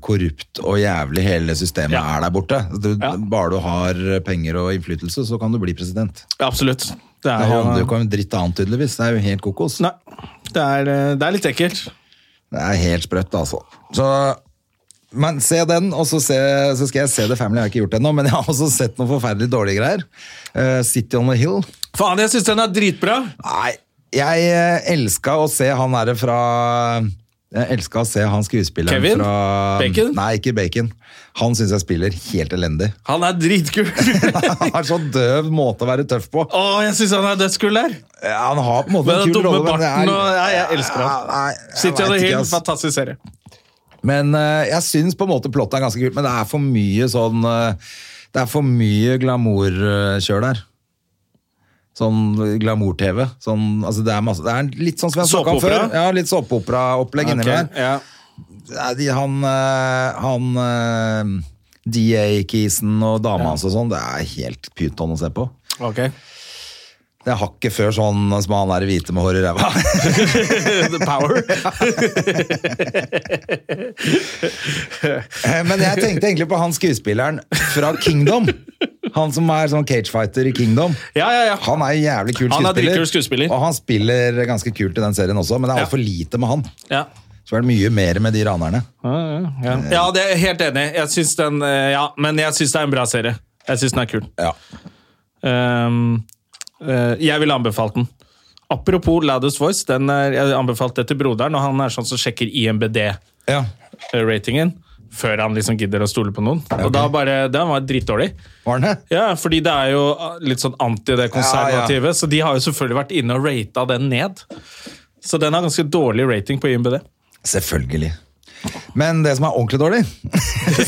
[SPEAKER 1] korrupt og jævlig hele systemet
[SPEAKER 2] Ja.
[SPEAKER 1] er der borte. Du,
[SPEAKER 2] Ja.
[SPEAKER 1] Bare du har eh, penger og innflytelse, så kan du bli president.
[SPEAKER 2] Absolutt. Det
[SPEAKER 1] Det
[SPEAKER 2] er,
[SPEAKER 1] handler
[SPEAKER 2] jo,
[SPEAKER 1] jo ikke om dritt annet, tydeligvis. Det er jo helt kokos.
[SPEAKER 2] nei, det, er, eh, det er litt ekkelt.
[SPEAKER 1] Det er helt sprøtt, altså. Så, men se den, og så, se, så skal jeg se The Family. Jeg har ikke gjort det ennå, men jeg har også sett noen forferdelig dårlige greier. Eh, City on the Hill.
[SPEAKER 2] Faen, jeg syns den er dritbra!
[SPEAKER 1] Nei, jeg uh, elska å se han derre fra Jeg elska å se han skuespilleren
[SPEAKER 2] Kevin?
[SPEAKER 1] fra
[SPEAKER 2] Bacon?
[SPEAKER 1] Nei, ikke Bacon. Han syns jeg spiller helt elendig. *laughs*
[SPEAKER 2] Han er dritkul!
[SPEAKER 1] Han har så døv måte å være tøff på.
[SPEAKER 2] Å, jeg syns han er dødskul der!
[SPEAKER 1] Ja, Han har på en måte
[SPEAKER 2] Med
[SPEAKER 1] en
[SPEAKER 2] den
[SPEAKER 1] kul
[SPEAKER 2] dumme
[SPEAKER 1] rolle, men det
[SPEAKER 2] barten
[SPEAKER 1] er
[SPEAKER 2] og Nei, jeg elsker
[SPEAKER 1] Ja,
[SPEAKER 2] han.
[SPEAKER 1] nei, jeg
[SPEAKER 2] City of the
[SPEAKER 1] vet ikke,
[SPEAKER 2] Hill,
[SPEAKER 1] ass.
[SPEAKER 2] fantastisk serie.
[SPEAKER 1] Men eh, jeg syns på en måte plottet er ganske kult, men det er for mye sånn eh, Det er for mye glamourkjør der. Sånn glamour-TV. Sånn, altså det, er masse- det er litt sånn som jeg snakka om før.
[SPEAKER 2] Såpeopera?
[SPEAKER 1] Ja, litt såpeoperaopplegg inni
[SPEAKER 2] Ok,
[SPEAKER 1] der.
[SPEAKER 2] ja.
[SPEAKER 1] Nei, de- Han, eh, han DA-kisen og dama hans og sånn, det er helt pyton å se på.
[SPEAKER 2] Ok.
[SPEAKER 1] Det er hakket før sånn som han der hvite med hår i ræva.
[SPEAKER 2] *laughs* The power.
[SPEAKER 1] Eh, Men jeg tenkte egentlig på han skuespilleren fra Kingdom. Han som er sånn cagefighter i Kingdom.
[SPEAKER 2] Ja, ja, ja.
[SPEAKER 1] Han er en jævlig kul
[SPEAKER 2] Han er
[SPEAKER 1] skuespiller.
[SPEAKER 2] dritkul skuespiller.
[SPEAKER 1] Og han spiller ganske kult i den serien også, men det er
[SPEAKER 2] Ja.
[SPEAKER 1] altfor lite med han.
[SPEAKER 2] Ja.
[SPEAKER 1] Så er det mye mer med de ranerne.
[SPEAKER 2] Ja. det er jeg helt enig. i. Jeg syns den eh, Ja, men jeg syns det er en bra serie. Jeg syns den er kul.
[SPEAKER 1] Ja.
[SPEAKER 2] Ehm, eh, jeg ville anbefalt den. Apropos Loudest Voice, den er, jeg anbefalte det til broderen, og han er sånn som sjekker IMBD-ratingen
[SPEAKER 1] ja.
[SPEAKER 2] eh, før han liksom gidder å stole på noen. Og da bare, Den var dritdårlig.
[SPEAKER 1] Var den det?
[SPEAKER 2] Ja, fordi det er jo litt sånn anti det konservative, så de har jo selvfølgelig vært inne og rata den ned. Så den har ganske dårlig rating på IMBD.
[SPEAKER 1] Selvfølgelig. Men det som er ordentlig dårlig,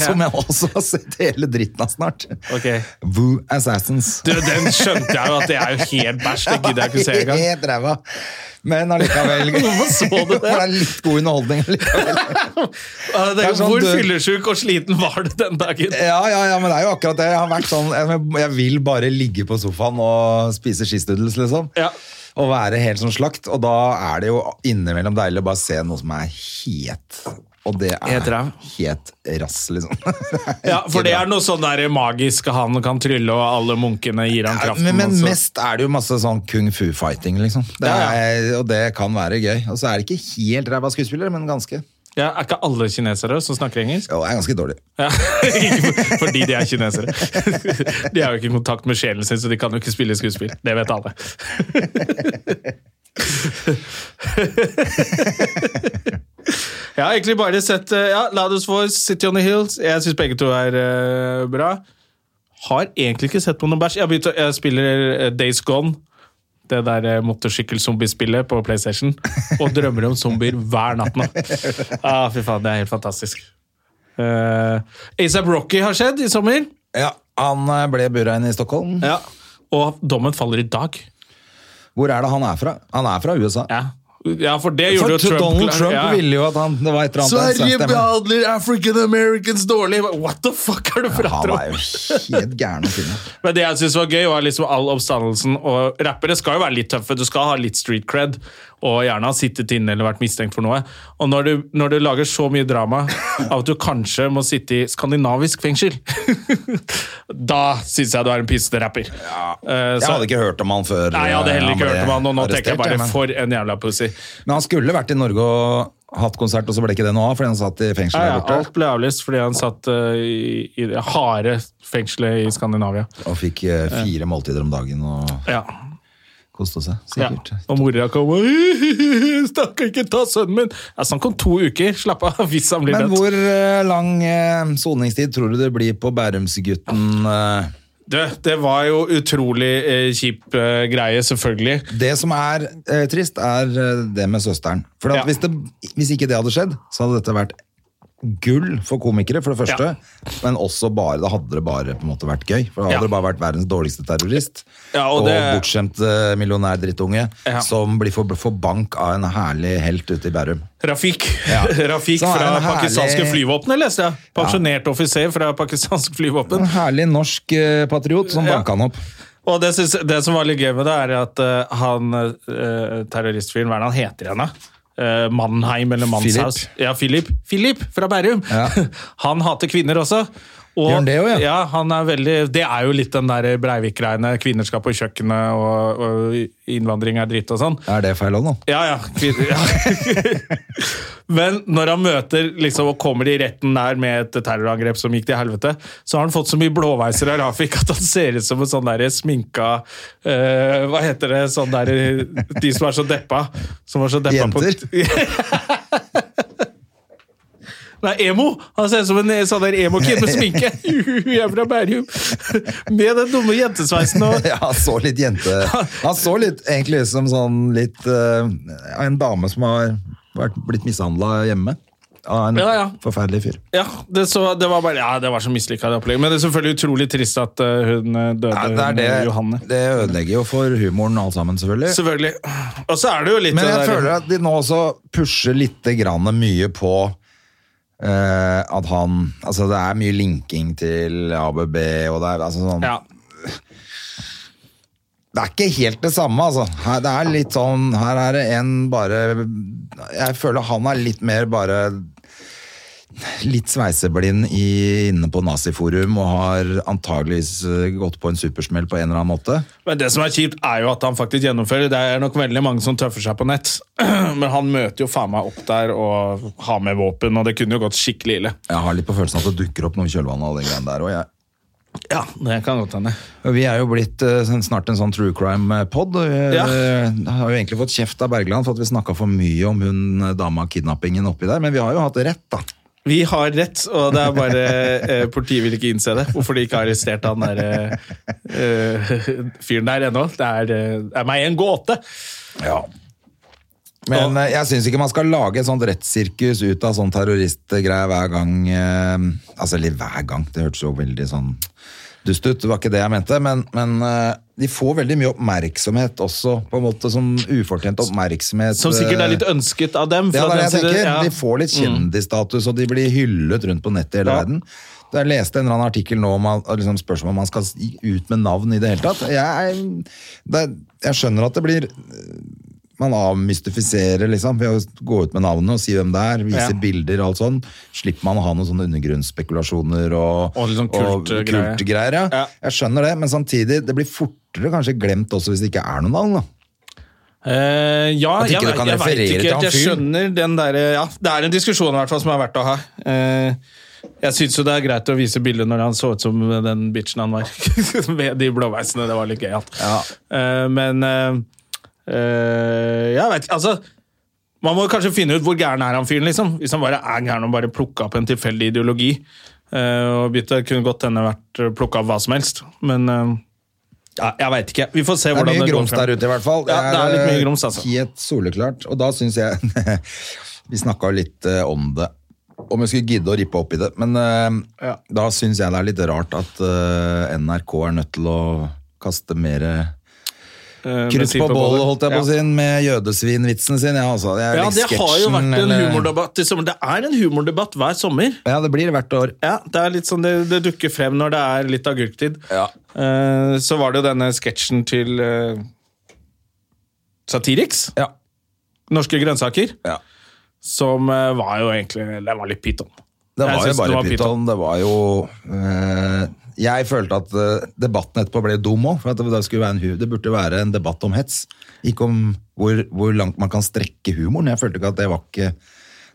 [SPEAKER 1] *laughs* som jeg også har sett hele dritten av snart
[SPEAKER 2] Ok.
[SPEAKER 1] Woo Assassins.
[SPEAKER 2] Du, den skjønte jeg jo at det er jo helt bæsj. Det gidder jeg ikke å se engang.
[SPEAKER 1] *laughs* Helt ræva.
[SPEAKER 2] *laughs*
[SPEAKER 1] Men allikevel
[SPEAKER 2] Hvorfor så du
[SPEAKER 1] *laughs*
[SPEAKER 2] det?
[SPEAKER 1] For det er litt god underholdning allikevel.
[SPEAKER 2] *laughs* Jeg
[SPEAKER 1] Det er
[SPEAKER 2] tenker,
[SPEAKER 1] sånn
[SPEAKER 2] Hvor
[SPEAKER 1] død-
[SPEAKER 2] fyllesyk og sliten var du den dagen?
[SPEAKER 1] Ja, ja, ja, men det er jo akkurat det. Jeg har vært sånn, jeg, jeg vil bare ligge på sofaen og spise skistuddels, liksom.
[SPEAKER 2] Ja.
[SPEAKER 1] å være helt som slakt, og da er det jo innimellom deilig å bare se noe som er het. Og det er
[SPEAKER 2] Helt ræv.
[SPEAKER 1] helt rass, liksom. *laughs* Det er
[SPEAKER 2] Ja,
[SPEAKER 1] ikke
[SPEAKER 2] For det
[SPEAKER 1] bra.
[SPEAKER 2] er noe sånn der magisk han kan trylle, og alle munkene gir han kraften. altså.
[SPEAKER 1] men,
[SPEAKER 2] og
[SPEAKER 1] men
[SPEAKER 2] så-
[SPEAKER 1] mest er det jo masse sånn kung fu-fighting, liksom. Det
[SPEAKER 2] Ja,
[SPEAKER 1] er, og det kan være gøy. Og så er det ikke helt ræva skuespillere, men ganske.
[SPEAKER 2] ja, Er ikke alle kinesere som snakker engelsk?
[SPEAKER 1] Jo, det er ganske dårlig.
[SPEAKER 2] Ja. *laughs* Ikke for- Fordi de er kinesere. *laughs* De har jo ikke kontakt med sjelen sin, så de kan jo ikke spille skuespill. Det vet alle. *laughs* Jeg har egentlig bare sett eh, ja, Loud as Voice, City on the Hills. Jeg syns begge to er eh, bra. Har egentlig ikke sett på noen bæsj. Jeg, har begynt å- jeg spiller eh, Days Gone. Det der eh, motorsykkelzombiespillet på PlayStation. Og drømmer om zombier hver natt nå. Ah, fy faen, det er helt fantastisk. Uh, ASAP Rocky har skjedd i sommer.
[SPEAKER 1] Ja, han eh, ble bura inn i Stockholm.
[SPEAKER 2] Ja. Og dommen faller i dag.
[SPEAKER 1] Hvor er det han er fra? Han er fra USA.
[SPEAKER 2] Ja, ja for det
[SPEAKER 1] For
[SPEAKER 2] gjorde jo Trump
[SPEAKER 1] Donald
[SPEAKER 2] klar-
[SPEAKER 1] Trump
[SPEAKER 2] ja.
[SPEAKER 1] ville jo at han det var et eller annet
[SPEAKER 2] Sverige
[SPEAKER 1] stemme.
[SPEAKER 2] behandler African Americans dårlig! What the fuck er det for
[SPEAKER 1] Han
[SPEAKER 2] prater
[SPEAKER 1] er
[SPEAKER 2] om?
[SPEAKER 1] jo helt gæren å
[SPEAKER 2] *laughs*
[SPEAKER 1] finne.
[SPEAKER 2] Men det jeg synes var gøy, var liksom all oppstandelsen. Og rappere skal jo være litt tøffe, du skal ha litt street cred. Og gjerne ha sittet inne eller vært mistenkt for noe. Og når du, når du lager så mye
[SPEAKER 1] *laughs*
[SPEAKER 2] drama av at du kanskje må sitte i skandinavisk fengsel, *laughs* da syns jeg du er en pissete rapper. Eh,
[SPEAKER 1] Jeg
[SPEAKER 2] så-
[SPEAKER 1] hadde ikke hørt om han før.
[SPEAKER 2] Nei, jeg hadde heller ikke
[SPEAKER 1] eh,
[SPEAKER 2] hørt om han, og nå
[SPEAKER 1] arrestert,
[SPEAKER 2] tenker jeg bare
[SPEAKER 1] men-
[SPEAKER 2] for en jævla pussy.
[SPEAKER 1] Men han skulle vært i Norge og hatt konsert, og så ble ikke det noe av fordi han satt i fengsel
[SPEAKER 2] Ja, ja,
[SPEAKER 1] der borte.
[SPEAKER 2] alt ble avlyst fordi han satt eh, i, i det harde fengselet i Skandinavia.
[SPEAKER 1] Og fikk eh, fire måltider om dagen og
[SPEAKER 2] Ja.
[SPEAKER 1] koste seg,
[SPEAKER 2] ja.
[SPEAKER 1] sikkert.
[SPEAKER 2] Og mora kom og *laughs* Stakkar, ikke ta sønnen min! Ja, så han kom to uker. Slapp av *laughs* hvis han blir
[SPEAKER 1] Men
[SPEAKER 2] dødt.
[SPEAKER 1] hvor eh, lang eh, soningstid tror du det blir på Bærumsgutten? eh?
[SPEAKER 2] Du, det var jo utrolig eh, kjip eh, greie, selvfølgelig.
[SPEAKER 1] Det som er eh, trist, er eh, det med søsteren. For at
[SPEAKER 2] Ja.
[SPEAKER 1] hvis, det, hvis ikke det hadde skjedd, så hadde dette vært gull for komikere, for det første.
[SPEAKER 2] Ja.
[SPEAKER 1] Men også bare, da hadde det bare på en måte vært gøy. For da hadde
[SPEAKER 2] Ja.
[SPEAKER 1] det bare vært verdens dårligste terrorist.
[SPEAKER 2] Ja, og
[SPEAKER 1] og
[SPEAKER 2] det-
[SPEAKER 1] bortskjemt eh, millionær drittunge
[SPEAKER 2] Ja.
[SPEAKER 1] som blir for, for bank av en herlig helt ute i Bærum.
[SPEAKER 2] Rafik.
[SPEAKER 1] Ja.
[SPEAKER 2] *laughs* Rafik
[SPEAKER 1] Så er det
[SPEAKER 2] fra
[SPEAKER 1] en herlig-
[SPEAKER 2] pakistanske flyvåpenet, leste jeg. Pensjonert offiser fra pakistansk flyvåpen.
[SPEAKER 1] En herlig norsk eh, patriot som
[SPEAKER 2] Ja.
[SPEAKER 1] banka han opp.
[SPEAKER 2] Og det, synes, det som var litt gøy med det, er at eh, han eh, terroristfyren, hva er det han heter igjen, da? Eh, Mannheim eller Manshaus?
[SPEAKER 1] Philip.
[SPEAKER 2] Ja, Philip. Philip fra Bærum!
[SPEAKER 1] Ja.
[SPEAKER 2] *laughs* han hater kvinner også. Og,
[SPEAKER 1] Gjør han det også, ja?
[SPEAKER 2] Ja, han er veldig, det er jo litt den der Breivik-greiene. Kvinner skal på kjøkkenet, og, og innvandring er dritt og sånn.
[SPEAKER 1] Er det feil òg nå?
[SPEAKER 2] Ja, ja. Kvinner, ja. *laughs* Men når han møter liksom, og kommer i retten der med et terrorangrep som gikk til helvete, så har han fått så mye blåveiser av Rafik at han ser ut som en sånn der sminka eh, Hva heter det? Sånn der, de som er så deppa. Som var så deppa
[SPEAKER 1] Jenter?
[SPEAKER 2] På, *laughs* nei, emo! Han ser ut som en sånn der emo-kid med sminke. *laughs* Jeg er fra Bærum. Med den dumme jentesveisen og
[SPEAKER 1] *laughs* Ja, han så litt jente Han så litt egentlig ut som sånn litt eh, En dame som har vært, blitt mishandla hjemme. Av en
[SPEAKER 2] Ja, ja.
[SPEAKER 1] forferdelig fyr.
[SPEAKER 2] Ja, det, så, det var bare Ja, det var så mislykka det opplegget. Men det er selvfølgelig utrolig trist at eh, hun eh, døde,
[SPEAKER 1] Ja, det, er det,
[SPEAKER 2] hun, Johanne.
[SPEAKER 1] det ødelegger jo for humoren alt sammen, selvfølgelig.
[SPEAKER 2] Selvfølgelig. Og så er det jo litt
[SPEAKER 1] Men jeg
[SPEAKER 2] det der-
[SPEAKER 1] føler at de nå også pusher litt grann mye på eh, at han Altså, det er mye linking til ABB, og det er altså sånn
[SPEAKER 2] ja.
[SPEAKER 1] Det er ikke helt det samme, altså. Her, det er litt sånn, her er det en bare Jeg føler han er litt mer bare Litt sveiseblind i, inne på naziforum og har antageligvis eh, gått på en supersmell på en eller annen måte.
[SPEAKER 2] Men det som er kjipt, er jo at han faktisk gjennomfører. Det er nok veldig mange som tøffer seg på nett, *clears throat* men han møter jo faen meg opp der og har med våpen, og det kunne jo gått skikkelig ille.
[SPEAKER 1] Jeg har litt på følelsen at det dukker opp noe i kjølvannet av den greien der òg, jeg.
[SPEAKER 2] Ja, det kan godt hende.
[SPEAKER 1] Og Vi er jo blitt eh, sånn- snart en sånn true crime-pod. eh,
[SPEAKER 2] Ja.
[SPEAKER 1] Har jo egentlig fått kjeft av Bergland for at vi snakka for mye om hun eh, dama-kidnappingen oppi der, men vi har jo hatt rett, da.
[SPEAKER 2] Vi har rett, og det er bare eh, Politiet vil ikke innse det. Hvorfor de ikke har arrestert han der eh, eh, fyren der ennå. Det er, eh, det er meg en gåte!
[SPEAKER 1] Ja. Men eh, jeg syns ikke man skal lage et sånt rettssirkus ut av sånn terroristgreie hver gang eh, Altså, eller hver gang, det hørtes jo veldig sånn dust ut, det var ikke det jeg mente, men, men eh, de får veldig mye oppmerksomhet også, på en måte som ufortjent oppmerksomhet.
[SPEAKER 2] Som sikkert er litt
[SPEAKER 1] eh,
[SPEAKER 2] ønsket av dem.
[SPEAKER 1] ja,
[SPEAKER 2] fra
[SPEAKER 1] det er
[SPEAKER 2] den
[SPEAKER 1] det jeg
[SPEAKER 2] siden,
[SPEAKER 1] tenker.
[SPEAKER 2] ja. Mm.
[SPEAKER 1] De får litt kjendisstatus, og de blir hyllet rundt på nettet i hele
[SPEAKER 2] Ja.
[SPEAKER 1] verden. Jeg leste en eller annen artikkel nå om at- liksom spørsmål om man skal gi ut med navn i det hele tatt. Jeg, er- det, er- jeg skjønner at det blir Man avmystifiserer, liksom, ved å gå ut med navnet og si hvem det er, vise
[SPEAKER 2] Ja.
[SPEAKER 1] bilder og alt sånn. Slipper man å ha noen sånne undergrunnsspekulasjoner og,
[SPEAKER 2] Og litt sånn kultgreier.
[SPEAKER 1] kultgreier, ja.
[SPEAKER 2] Ja.
[SPEAKER 1] Jeg skjønner det, men samtidig, det blir fortere kanskje glemt også hvis det ikke er noe navn, da.
[SPEAKER 2] Eh, ja,
[SPEAKER 1] At
[SPEAKER 2] jeg,
[SPEAKER 1] ikke du kan
[SPEAKER 2] jeg vet
[SPEAKER 1] referere
[SPEAKER 2] ikke
[SPEAKER 1] til han
[SPEAKER 2] helt. Jeg
[SPEAKER 1] fyren.
[SPEAKER 2] skjønner den der, ja, Det er en diskusjon i hvert fall som er verdt å ha. Eh, jeg syns jo det er greit å vise bildet når han så ut som den bitchen han var. *laughs* Med de blåveisene. Det var litt gøyalt.
[SPEAKER 1] Ja.
[SPEAKER 2] Eh, men eh, eh, Jeg veit ikke. Altså, man må kanskje finne ut hvor gæren er han fyren, liksom. Hvis han bare er gæren og bare plukka opp en tilfeldig ideologi. eh, og bytte, kunne godt hende vært plukka av hva som helst. Men eh, ja, jeg veit ikke. Vi får se
[SPEAKER 1] Det
[SPEAKER 2] hvordan
[SPEAKER 1] er mye
[SPEAKER 2] det går
[SPEAKER 1] grums der
[SPEAKER 2] frem.
[SPEAKER 1] ute, i hvert fall. eh,
[SPEAKER 2] Ja, det er litt mye grums, altså.
[SPEAKER 1] Helt soleklart. Og da syns jeg *laughs* Vi snakka jo litt eh, om det, om jeg skulle gidde å rippe opp i det. Men eh,
[SPEAKER 2] Ja.
[SPEAKER 1] da syns jeg det er litt rart at eh, NRK er nødt til å kaste mer
[SPEAKER 2] Eh,
[SPEAKER 1] kryss
[SPEAKER 2] bensin
[SPEAKER 1] på bålet,
[SPEAKER 2] bålet.
[SPEAKER 1] holdt jeg på å
[SPEAKER 2] Ja.
[SPEAKER 1] si, med jødesvinvitsen sin. Ja, altså, jeg,
[SPEAKER 2] Ja, det
[SPEAKER 1] liker
[SPEAKER 2] har jo
[SPEAKER 1] sketsjen,
[SPEAKER 2] vært en
[SPEAKER 1] eller-
[SPEAKER 2] humordebatt i sommer. Det er en humordebatt hver sommer.
[SPEAKER 1] Ja, det blir hvert år.
[SPEAKER 2] Ja, Det er litt sånn, det, det dukker frem når det er litt agurktid. Eh, så var det jo denne sketsjen til eh, Satiriks,
[SPEAKER 1] Ja.
[SPEAKER 2] Norske grønnsaker,
[SPEAKER 1] Ja.
[SPEAKER 2] som eh, var jo egentlig Den var litt pyton.
[SPEAKER 1] Det
[SPEAKER 2] Jeg
[SPEAKER 1] var jo
[SPEAKER 2] synes det
[SPEAKER 1] bare
[SPEAKER 2] var
[SPEAKER 1] pyton. Det var jo eh, Jeg følte at eh, debatten etterpå ble dum òg. Det, det skulle være en hu- det burde være en debatt om hets, ikke om hvor, hvor langt man kan strekke humoren. Jeg følte ikke at det var ikke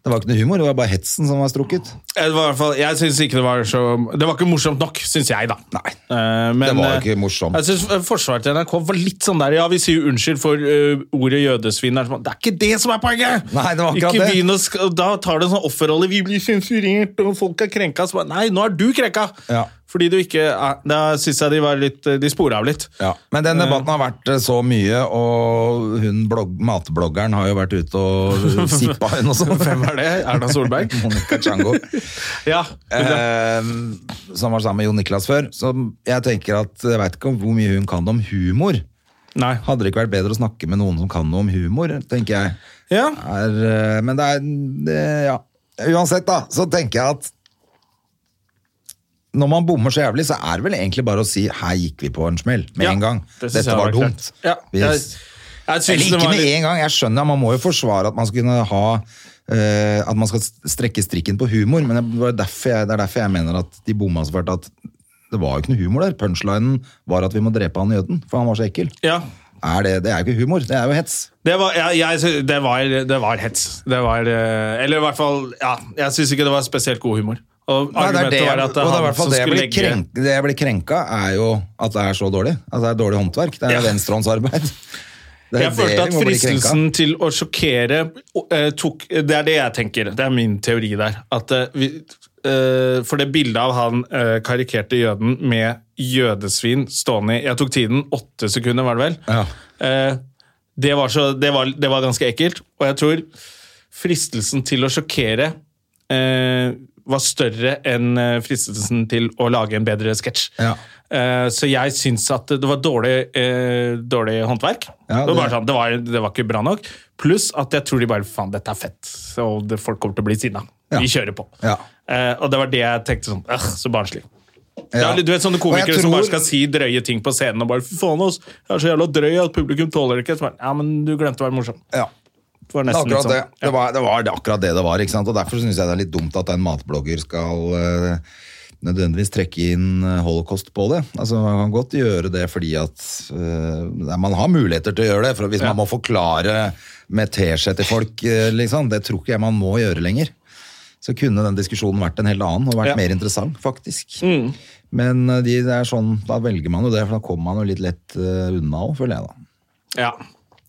[SPEAKER 1] det var ikke noe humor, det var bare hetsen som var strukket.
[SPEAKER 2] Jeg, Eh, var i hvert fall, jeg synes ikke det var så Det var ikke morsomt nok, syns jeg, da.
[SPEAKER 1] Nei.
[SPEAKER 2] Eh, men,
[SPEAKER 1] Det var jo
[SPEAKER 2] eh,
[SPEAKER 1] ikke morsomt.
[SPEAKER 2] Jeg synes eh, Forsvaret til NRK var litt sånn der Ja, vi sier unnskyld for eh, ordet jødesvin. er sånn, Det er ikke det som er poenget!
[SPEAKER 1] Nei, det var akkurat
[SPEAKER 2] ikke
[SPEAKER 1] det.
[SPEAKER 2] begynn å sk- Da tar det en sånn offerrolle. Vi blir sensurert, og folk er krenka. Så bare, nei, nå er du krenka!
[SPEAKER 1] Ja.
[SPEAKER 2] Fordi du ikke er, Da syns jeg de var litt eh, De spora av litt.
[SPEAKER 1] Men den debatten har vært eh, så mye, og hun blogg, matbloggeren har jo vært ute
[SPEAKER 2] *laughs*
[SPEAKER 1] og sippa hun også.
[SPEAKER 2] Hvem er det? Erna Solberg?
[SPEAKER 1] *laughs* Monica Chango.
[SPEAKER 2] Ja. det-
[SPEAKER 1] Ehm, som var sammen med Jon Niklas før. Så jeg tenker at jeg veit ikke om hvor mye hun kan om humor.
[SPEAKER 2] nei.
[SPEAKER 1] Hadde det ikke vært bedre å snakke med noen som kan noe om humor, tenker jeg.
[SPEAKER 2] Ja.
[SPEAKER 1] Er, eh, men det er det, Ja. Uansett, da, så tenker jeg at når man bommer så jævlig, så er det vel egentlig bare å si 'her gikk vi på en smell' med
[SPEAKER 2] Ja,
[SPEAKER 1] en gang.
[SPEAKER 2] det synes
[SPEAKER 1] Dette
[SPEAKER 2] jeg
[SPEAKER 1] var
[SPEAKER 2] greit.
[SPEAKER 1] dumt.
[SPEAKER 2] Ja.
[SPEAKER 1] Vi-
[SPEAKER 2] Jeg, jeg synes
[SPEAKER 1] eller
[SPEAKER 2] det
[SPEAKER 1] ikke
[SPEAKER 2] var
[SPEAKER 1] med
[SPEAKER 2] litt-
[SPEAKER 1] en gang. Jeg skjønner, man må jo forsvare at man skal kunne ha eh, At man skal strekke strikken på humor, men det, var derfor jeg, det er derfor jeg mener at de bomma så fælt. At det var jo ikke noe humor der. Punchlinen var at vi må drepe han jøden, for han var så ekkel.
[SPEAKER 2] ja.
[SPEAKER 1] Er det, det er jo ikke humor, det er jo hets.
[SPEAKER 2] Det var, jeg, jeg, sy- det, var, det var hets. Det var, eh, eller i hvert fall ja, Jeg syns ikke det var spesielt god humor. Og
[SPEAKER 1] Nei, det
[SPEAKER 2] argumentet
[SPEAKER 1] er det,
[SPEAKER 2] var
[SPEAKER 1] jeg-
[SPEAKER 2] at det er
[SPEAKER 1] og det er i
[SPEAKER 2] han
[SPEAKER 1] hvert fall
[SPEAKER 2] som
[SPEAKER 1] det jeg
[SPEAKER 2] skulle
[SPEAKER 1] blir
[SPEAKER 2] legge
[SPEAKER 1] krenk, det jeg blir krenka, er jo at det er så dårlig. At det er dårlig håndverk. Det er
[SPEAKER 2] Ja.
[SPEAKER 1] venstrehåndsarbeid. Det er
[SPEAKER 2] Jeg
[SPEAKER 1] det
[SPEAKER 2] følte
[SPEAKER 1] vi
[SPEAKER 2] at
[SPEAKER 1] må bli krenka.
[SPEAKER 2] fristelsen til å sjokkere eh, tok Det er det jeg tenker. Det er min teori der. At, eh, vi, eh, for det bildet av han eh, karikerte jøden med jødesvin stående i Jeg tok tiden. Åtte sekunder, var det vel?
[SPEAKER 1] Ja.
[SPEAKER 2] Eh, det, var så, det, var, det var ganske ekkelt. Og jeg tror fristelsen til å sjokkere eh, var større enn eh, fristelsen til å lage en bedre sketsj.
[SPEAKER 1] Ja.
[SPEAKER 2] Eh, så jeg syns at det var dårlig, eh, dårlig håndverk.
[SPEAKER 1] Ja,
[SPEAKER 2] det, var bare
[SPEAKER 1] det-
[SPEAKER 2] sånn, det, var, det var ikke bra nok. Pluss at jeg tror de bare faen, dette er fett, og det, folk kommer til å bli sinna.
[SPEAKER 1] Ja.
[SPEAKER 2] Vi kjører på.
[SPEAKER 1] Ja.
[SPEAKER 2] Eh, og det var det jeg tenkte sånn øh, Så barnslig. Det
[SPEAKER 1] Ja.
[SPEAKER 2] er litt- Du vet sånne
[SPEAKER 1] Og jeg
[SPEAKER 2] komikere som
[SPEAKER 1] tror-
[SPEAKER 2] bare skal si drøye ting på scenen og bare fy faen oss, jeg er så jævla drøy at publikum tåler det ikke. Så bare, ja, men du glemte å være morsom.
[SPEAKER 1] Ja.
[SPEAKER 2] Det var
[SPEAKER 1] Det er
[SPEAKER 2] nesten litt
[SPEAKER 1] akkurat det.
[SPEAKER 2] sånn.
[SPEAKER 1] Det var, det var det- akkurat det det var. ikke sant? Og Derfor syns jeg det er litt dumt at en matblogger skal eh, nødvendigvis trekke inn eh, holocaust på det. Altså, Man kan godt gjøre det fordi at eh, nei, Man har muligheter til å gjøre det. for Hvis man må forklare med teskje til folk, eh, liksom, det tror ikke jeg man må gjøre lenger. Så kunne den diskusjonen vært en helt annen og vært
[SPEAKER 2] Ja. Mm.
[SPEAKER 1] mer interessant, faktisk. Men eh, de, det er sånn, da velger man jo det, for da kommer man jo litt lett eh, unna òg, føler jeg da.
[SPEAKER 2] Ja.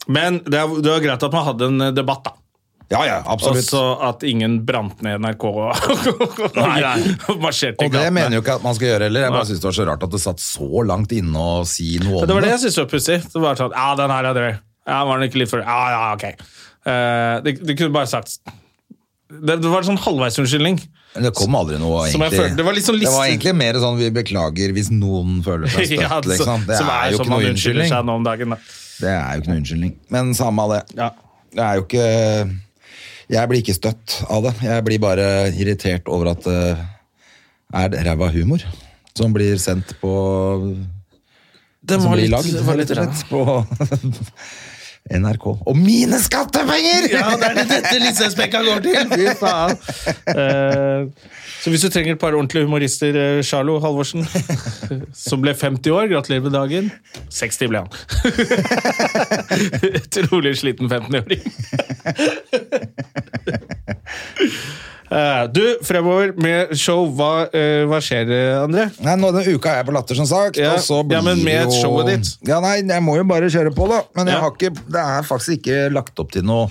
[SPEAKER 2] Men det er- det var greit at man hadde en eh, debatt, da.
[SPEAKER 1] Ja, ja,
[SPEAKER 2] Og
[SPEAKER 1] absolutt.
[SPEAKER 2] så at ingen brant ned NRK og, *laughs* nei, og marsjerte i
[SPEAKER 1] Og det
[SPEAKER 2] gatene.
[SPEAKER 1] mener jo ikke at man skal gjøre heller. Jeg bare synes det var så rart at det satt så langt inne å si noe om
[SPEAKER 2] Det var det
[SPEAKER 1] det.
[SPEAKER 2] jeg syntes var pussig. Det var sånn, ja, den her er drøy. Ja, var den ikke litt for Ja, ja, ok. Eh, de, de kunne bare sagt Det, det var en sånn halvveisunnskyldning.
[SPEAKER 1] Men det kom aldri noe,
[SPEAKER 2] Som jeg
[SPEAKER 1] egentlig.
[SPEAKER 2] følte- det var litt sånn
[SPEAKER 1] Det var
[SPEAKER 2] listig.
[SPEAKER 1] egentlig mer sånn vi beklager hvis noen føler seg støtt,
[SPEAKER 2] *laughs* Ja, så-
[SPEAKER 1] liksom. Det
[SPEAKER 2] som
[SPEAKER 1] er jo
[SPEAKER 2] som
[SPEAKER 1] ikke
[SPEAKER 2] man
[SPEAKER 1] noe
[SPEAKER 2] unnskylder
[SPEAKER 1] unnskyldning.
[SPEAKER 2] seg nå om dagen. Da.
[SPEAKER 1] Det er jo ikke noe unnskyldning. Men samme av det.
[SPEAKER 2] Ja.
[SPEAKER 1] Det er jo ikke Jeg blir ikke støtt av det. Jeg blir bare irritert over at det er det ræva humor som blir sendt på
[SPEAKER 2] Den
[SPEAKER 1] Som
[SPEAKER 2] var
[SPEAKER 1] blir
[SPEAKER 2] litt-
[SPEAKER 1] lagd,
[SPEAKER 2] var litt
[SPEAKER 1] rett og slett, på *laughs* NRK. Og mine skattepenger!
[SPEAKER 2] Ja, det er det dette lisensbenka går til! Fy faen. Eh, så hvis du trenger et par ordentlige humorister, eh, Charlo
[SPEAKER 1] *laughs*
[SPEAKER 2] Halvorsen, som ble 50 år, gratulerer med dagen. 60 ble han. *laughs* Utrolig sliten 15-åring. *laughs* Eh, du, fremover med show, hva, eh, hva skjer, eh, André?
[SPEAKER 1] Nei, nå Denne uka er jeg på Latter, som sagt.
[SPEAKER 2] Ja,
[SPEAKER 1] og så blir
[SPEAKER 2] ja, men med
[SPEAKER 1] jo...
[SPEAKER 2] showet ditt.
[SPEAKER 1] Ja, nei, Jeg må jo bare kjøre på, da. Men jeg
[SPEAKER 2] Ja.
[SPEAKER 1] har ikke, det er faktisk ikke lagt opp til noe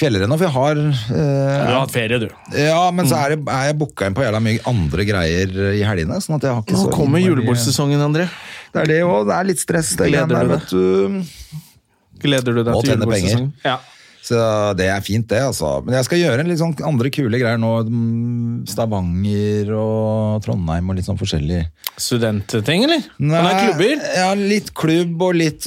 [SPEAKER 1] kvelder ennå, for jeg har eh,
[SPEAKER 2] Du har hatt ferie, du.
[SPEAKER 1] Ja, men så er, det, er jeg booka inn på jævla mye andre greier i helgene. sånn at jeg har ikke så
[SPEAKER 2] Nå kommer
[SPEAKER 1] innmari-
[SPEAKER 2] julebordsesongen, André.
[SPEAKER 1] Det er det òg. Det er litt stress, det
[SPEAKER 2] Gleder
[SPEAKER 1] greiene der,
[SPEAKER 2] du deg?
[SPEAKER 1] vet du.
[SPEAKER 2] Gleder du deg
[SPEAKER 1] Og
[SPEAKER 2] til
[SPEAKER 1] tjene penger.
[SPEAKER 2] julebordsesongen? Ja.
[SPEAKER 1] Så det er fint, det, altså. Men jeg skal gjøre en litt sånn andre kule greier nå. mm, Stavanger og Trondheim og litt sånn forskjellig.
[SPEAKER 2] Studentting, eller? Han er klubber.
[SPEAKER 1] Ja, litt klubb og litt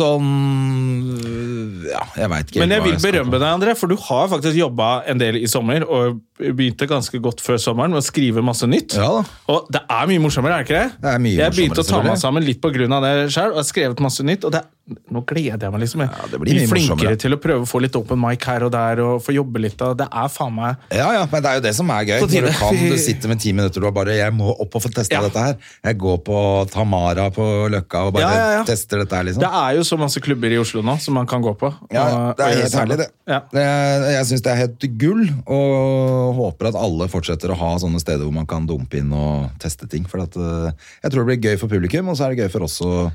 [SPEAKER 1] sånn Ja, jeg veit ikke.
[SPEAKER 2] Men jeg
[SPEAKER 1] hva
[SPEAKER 2] vil
[SPEAKER 1] skal-
[SPEAKER 2] berømme deg, André, for du har faktisk jobba en del i sommer, og begynte ganske godt før sommeren med å skrive masse nytt.
[SPEAKER 1] Ja da.
[SPEAKER 2] Og det er mye morsommere, er det ikke det?
[SPEAKER 1] Det er mye
[SPEAKER 2] jeg begynte
[SPEAKER 1] morsommere,
[SPEAKER 2] å ta meg
[SPEAKER 1] selvfølgelig.
[SPEAKER 2] sammen litt på grunn av det sjøl, og har skrevet masse nytt. Og det er, nå gleder jeg meg liksom. Jeg
[SPEAKER 1] det blir mye
[SPEAKER 2] flinkere
[SPEAKER 1] morsommere.
[SPEAKER 2] til å prøve å få litt open mic her og der, og få jobbe litt. Og det er faen meg
[SPEAKER 1] Ja, ja, men det er jo det som er gøy.
[SPEAKER 2] På tide.
[SPEAKER 1] Når du kan, du sitter med ti minutter og bare 'Jeg må opp og få testa
[SPEAKER 2] Ja.
[SPEAKER 1] dette her'. Jeg går på Tamara på Løkka og bare
[SPEAKER 2] Ja, ja, ja.
[SPEAKER 1] tester dette her, liksom.
[SPEAKER 2] Det er jo så masse klubber i Oslo nå som man kan gå på.
[SPEAKER 1] ja, ja,
[SPEAKER 2] og-
[SPEAKER 1] det
[SPEAKER 2] og
[SPEAKER 1] er
[SPEAKER 2] gjøre
[SPEAKER 1] helt herlig,
[SPEAKER 2] sammen.
[SPEAKER 1] det.
[SPEAKER 2] Ja.
[SPEAKER 1] det er, jeg syns det er helt gull, og håper at alle fortsetter å ha sånne steder hvor man kan dumpe inn og teste ting. For at, eh, jeg tror det blir gøy for publikum, og så er det gøy for oss å,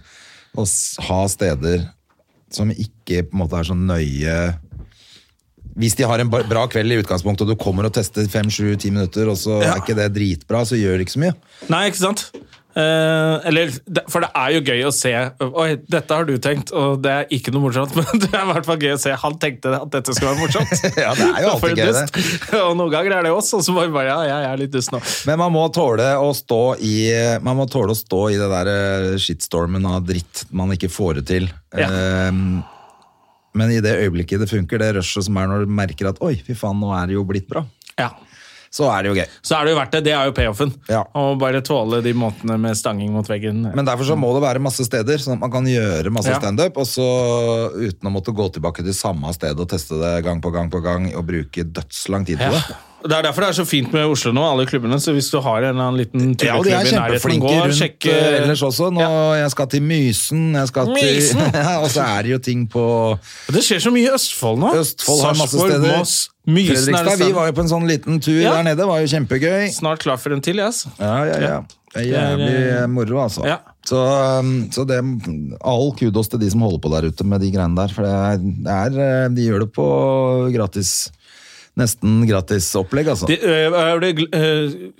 [SPEAKER 1] å s- ha steder som ikke på en måte er så nøye hvis de har en ba- bra kveld i utgangspunktet, og du kommer og tester 5-7-10 minutter, og så er ikke det dritbra, så gjør det ikke så mye. *laughs*
[SPEAKER 2] Nei, ikke sant? Eh, eller, det- for det er jo gøy å se Oi, dette har du tenkt, og det er ikke noe morsomt, *laughs* men det er i hvert fall gøy å se. Han tenkte at dette skulle være morsomt.
[SPEAKER 1] Ja, *laughs* det er jo
[SPEAKER 2] For
[SPEAKER 1] alltid
[SPEAKER 2] en
[SPEAKER 1] gøy,
[SPEAKER 2] *laughs* dust. Og noen ganger er det oss, og så må vi bare Ja, jeg er litt dust nå.
[SPEAKER 1] Men man må tåle å stå i Man må tåle å stå i det der eh, shitstormen av dritt man ikke får det til.
[SPEAKER 2] Ja.
[SPEAKER 1] Ehm, men i det øyeblikket det funker, det rushet som er når du merker at oi, fy faen, nå er det jo blitt bra,
[SPEAKER 2] Ja.
[SPEAKER 1] så er det jo gøy.
[SPEAKER 2] Så er det jo verdt det. Det er jo payoffen.
[SPEAKER 1] Ja.
[SPEAKER 2] Å bare tåle de månedene med stanging mot veggen.
[SPEAKER 1] Men derfor så må det være masse steder, sånn at man kan gjøre masse
[SPEAKER 2] Ja.
[SPEAKER 1] standup, og så uten å måtte gå tilbake til samme sted og teste det gang på gang på gang og bruke dødslang tid på
[SPEAKER 2] ja.
[SPEAKER 1] det.
[SPEAKER 2] Det er derfor det er så fint med Oslo nå, alle klubbene. Så hvis du har en eller annen liten
[SPEAKER 1] Ja, og de
[SPEAKER 2] tulleklubb
[SPEAKER 1] er
[SPEAKER 2] i nærheten,
[SPEAKER 1] kjempeflinke
[SPEAKER 2] gå og
[SPEAKER 1] rundt
[SPEAKER 2] sjekke
[SPEAKER 1] eh, ellers også. Nå, Jeg skal til Mysen, jeg skal til
[SPEAKER 2] Mysen!
[SPEAKER 1] *laughs* Ja, Og så er det jo ting på
[SPEAKER 2] Det skjer så mye i Østfold nå.
[SPEAKER 1] Østfold har masse
[SPEAKER 2] Sarpsborg,
[SPEAKER 1] steder.
[SPEAKER 2] Moss, Mysen er det
[SPEAKER 1] Fredrikstad, vi
[SPEAKER 2] stedet.
[SPEAKER 1] var jo på en sånn liten tur
[SPEAKER 2] Ja.
[SPEAKER 1] der nede, var jo kjempegøy.
[SPEAKER 2] Snart klar for en til, jeg, altså.
[SPEAKER 1] Ja, ja, ja. Det er Jævlig moro, altså.
[SPEAKER 2] Ja.
[SPEAKER 1] Så, um, så det, all kudos til de som holder på der ute med de greiene der, for det er, det er eh, De gjør det på gratis. Nesten gratis opplegg, altså.
[SPEAKER 2] De, øh, er det gl- øh,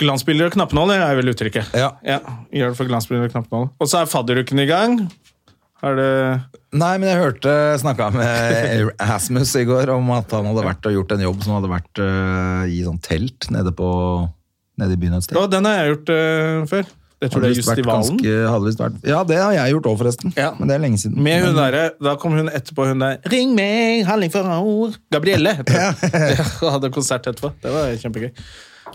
[SPEAKER 2] glansbilder og knappenål, det er vel uttrykket.
[SPEAKER 1] Ja.
[SPEAKER 2] Gjør det for glansbilder og knappenål. Og så er fadderuken i gang. Er det
[SPEAKER 1] Nei, men jeg hørte snakka
[SPEAKER 2] *laughs*
[SPEAKER 1] med Asmus i går om at han hadde vært og gjort en jobb som hadde vært eh, i sånn telt nede, på, nede i byen et sted.
[SPEAKER 2] Å, den har jeg gjort øh, før. Jeg tror det
[SPEAKER 1] Hadde
[SPEAKER 2] er
[SPEAKER 1] visst vært
[SPEAKER 2] Justivalen.
[SPEAKER 1] ganske- hadde visst vært, ja, det har jeg gjort òg, forresten.
[SPEAKER 2] Ja.
[SPEAKER 1] Men det er lenge siden.
[SPEAKER 2] Med hun
[SPEAKER 1] Men-
[SPEAKER 2] derre Da kom hun etterpå, hun der Ring meg, handling for ord. Gabrielle. heter hun. *laughs* Ja, Hadde konsert etterpå. Det var kjempegøy.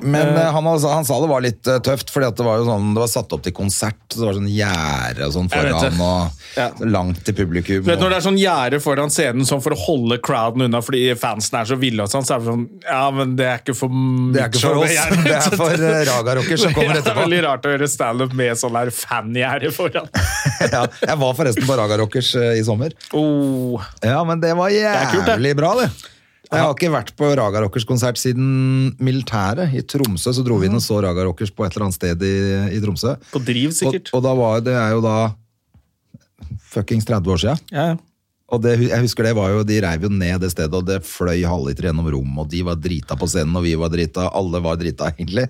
[SPEAKER 1] Men eh, han, altså, han sa det var litt eh, tøft, fordi at det var jo sånn, det var satt opp til konsert, så det var sånn gjære og sånn
[SPEAKER 2] Jeg vet det.
[SPEAKER 1] foran, og
[SPEAKER 2] Ja.
[SPEAKER 1] langt til publikum.
[SPEAKER 2] Du vet Når det
[SPEAKER 1] og,
[SPEAKER 2] er sånn gjerde foran scenen sånn for å holde crowden unna fordi fansen er så ville, og sånn, så er det sånn Ja, men det er ikke for
[SPEAKER 1] det er ikke for oss, *laughs* det er
[SPEAKER 2] *laughs*
[SPEAKER 1] for eh, Raga-rocker som kommer
[SPEAKER 2] Det er
[SPEAKER 1] etterpå.
[SPEAKER 2] veldig rart å gjøre standup med sånn der fangjerde foran.
[SPEAKER 1] ja, jeg var forresten på Raga-rockers eh, i sommer.
[SPEAKER 2] Oh.
[SPEAKER 1] Ja, men det var
[SPEAKER 2] er kult, det.
[SPEAKER 1] jævlig bra, det. Jeg har ikke vært på Raga-rockers konsert siden militæret. I Tromsø så dro vi inn og så Raga-rockers på et eller annet sted i, i Tromsø.
[SPEAKER 2] På driv, sikkert.
[SPEAKER 1] Og, og da var det er jo da fuckings 30 år siden.
[SPEAKER 2] ja.
[SPEAKER 1] Og det, jeg husker det var jo, De reiv jo ned det stedet, og det fløy halvliter gjennom rommet. Og de var drita på scenen, og vi var drita. Alle var drita, *laughs* egentlig.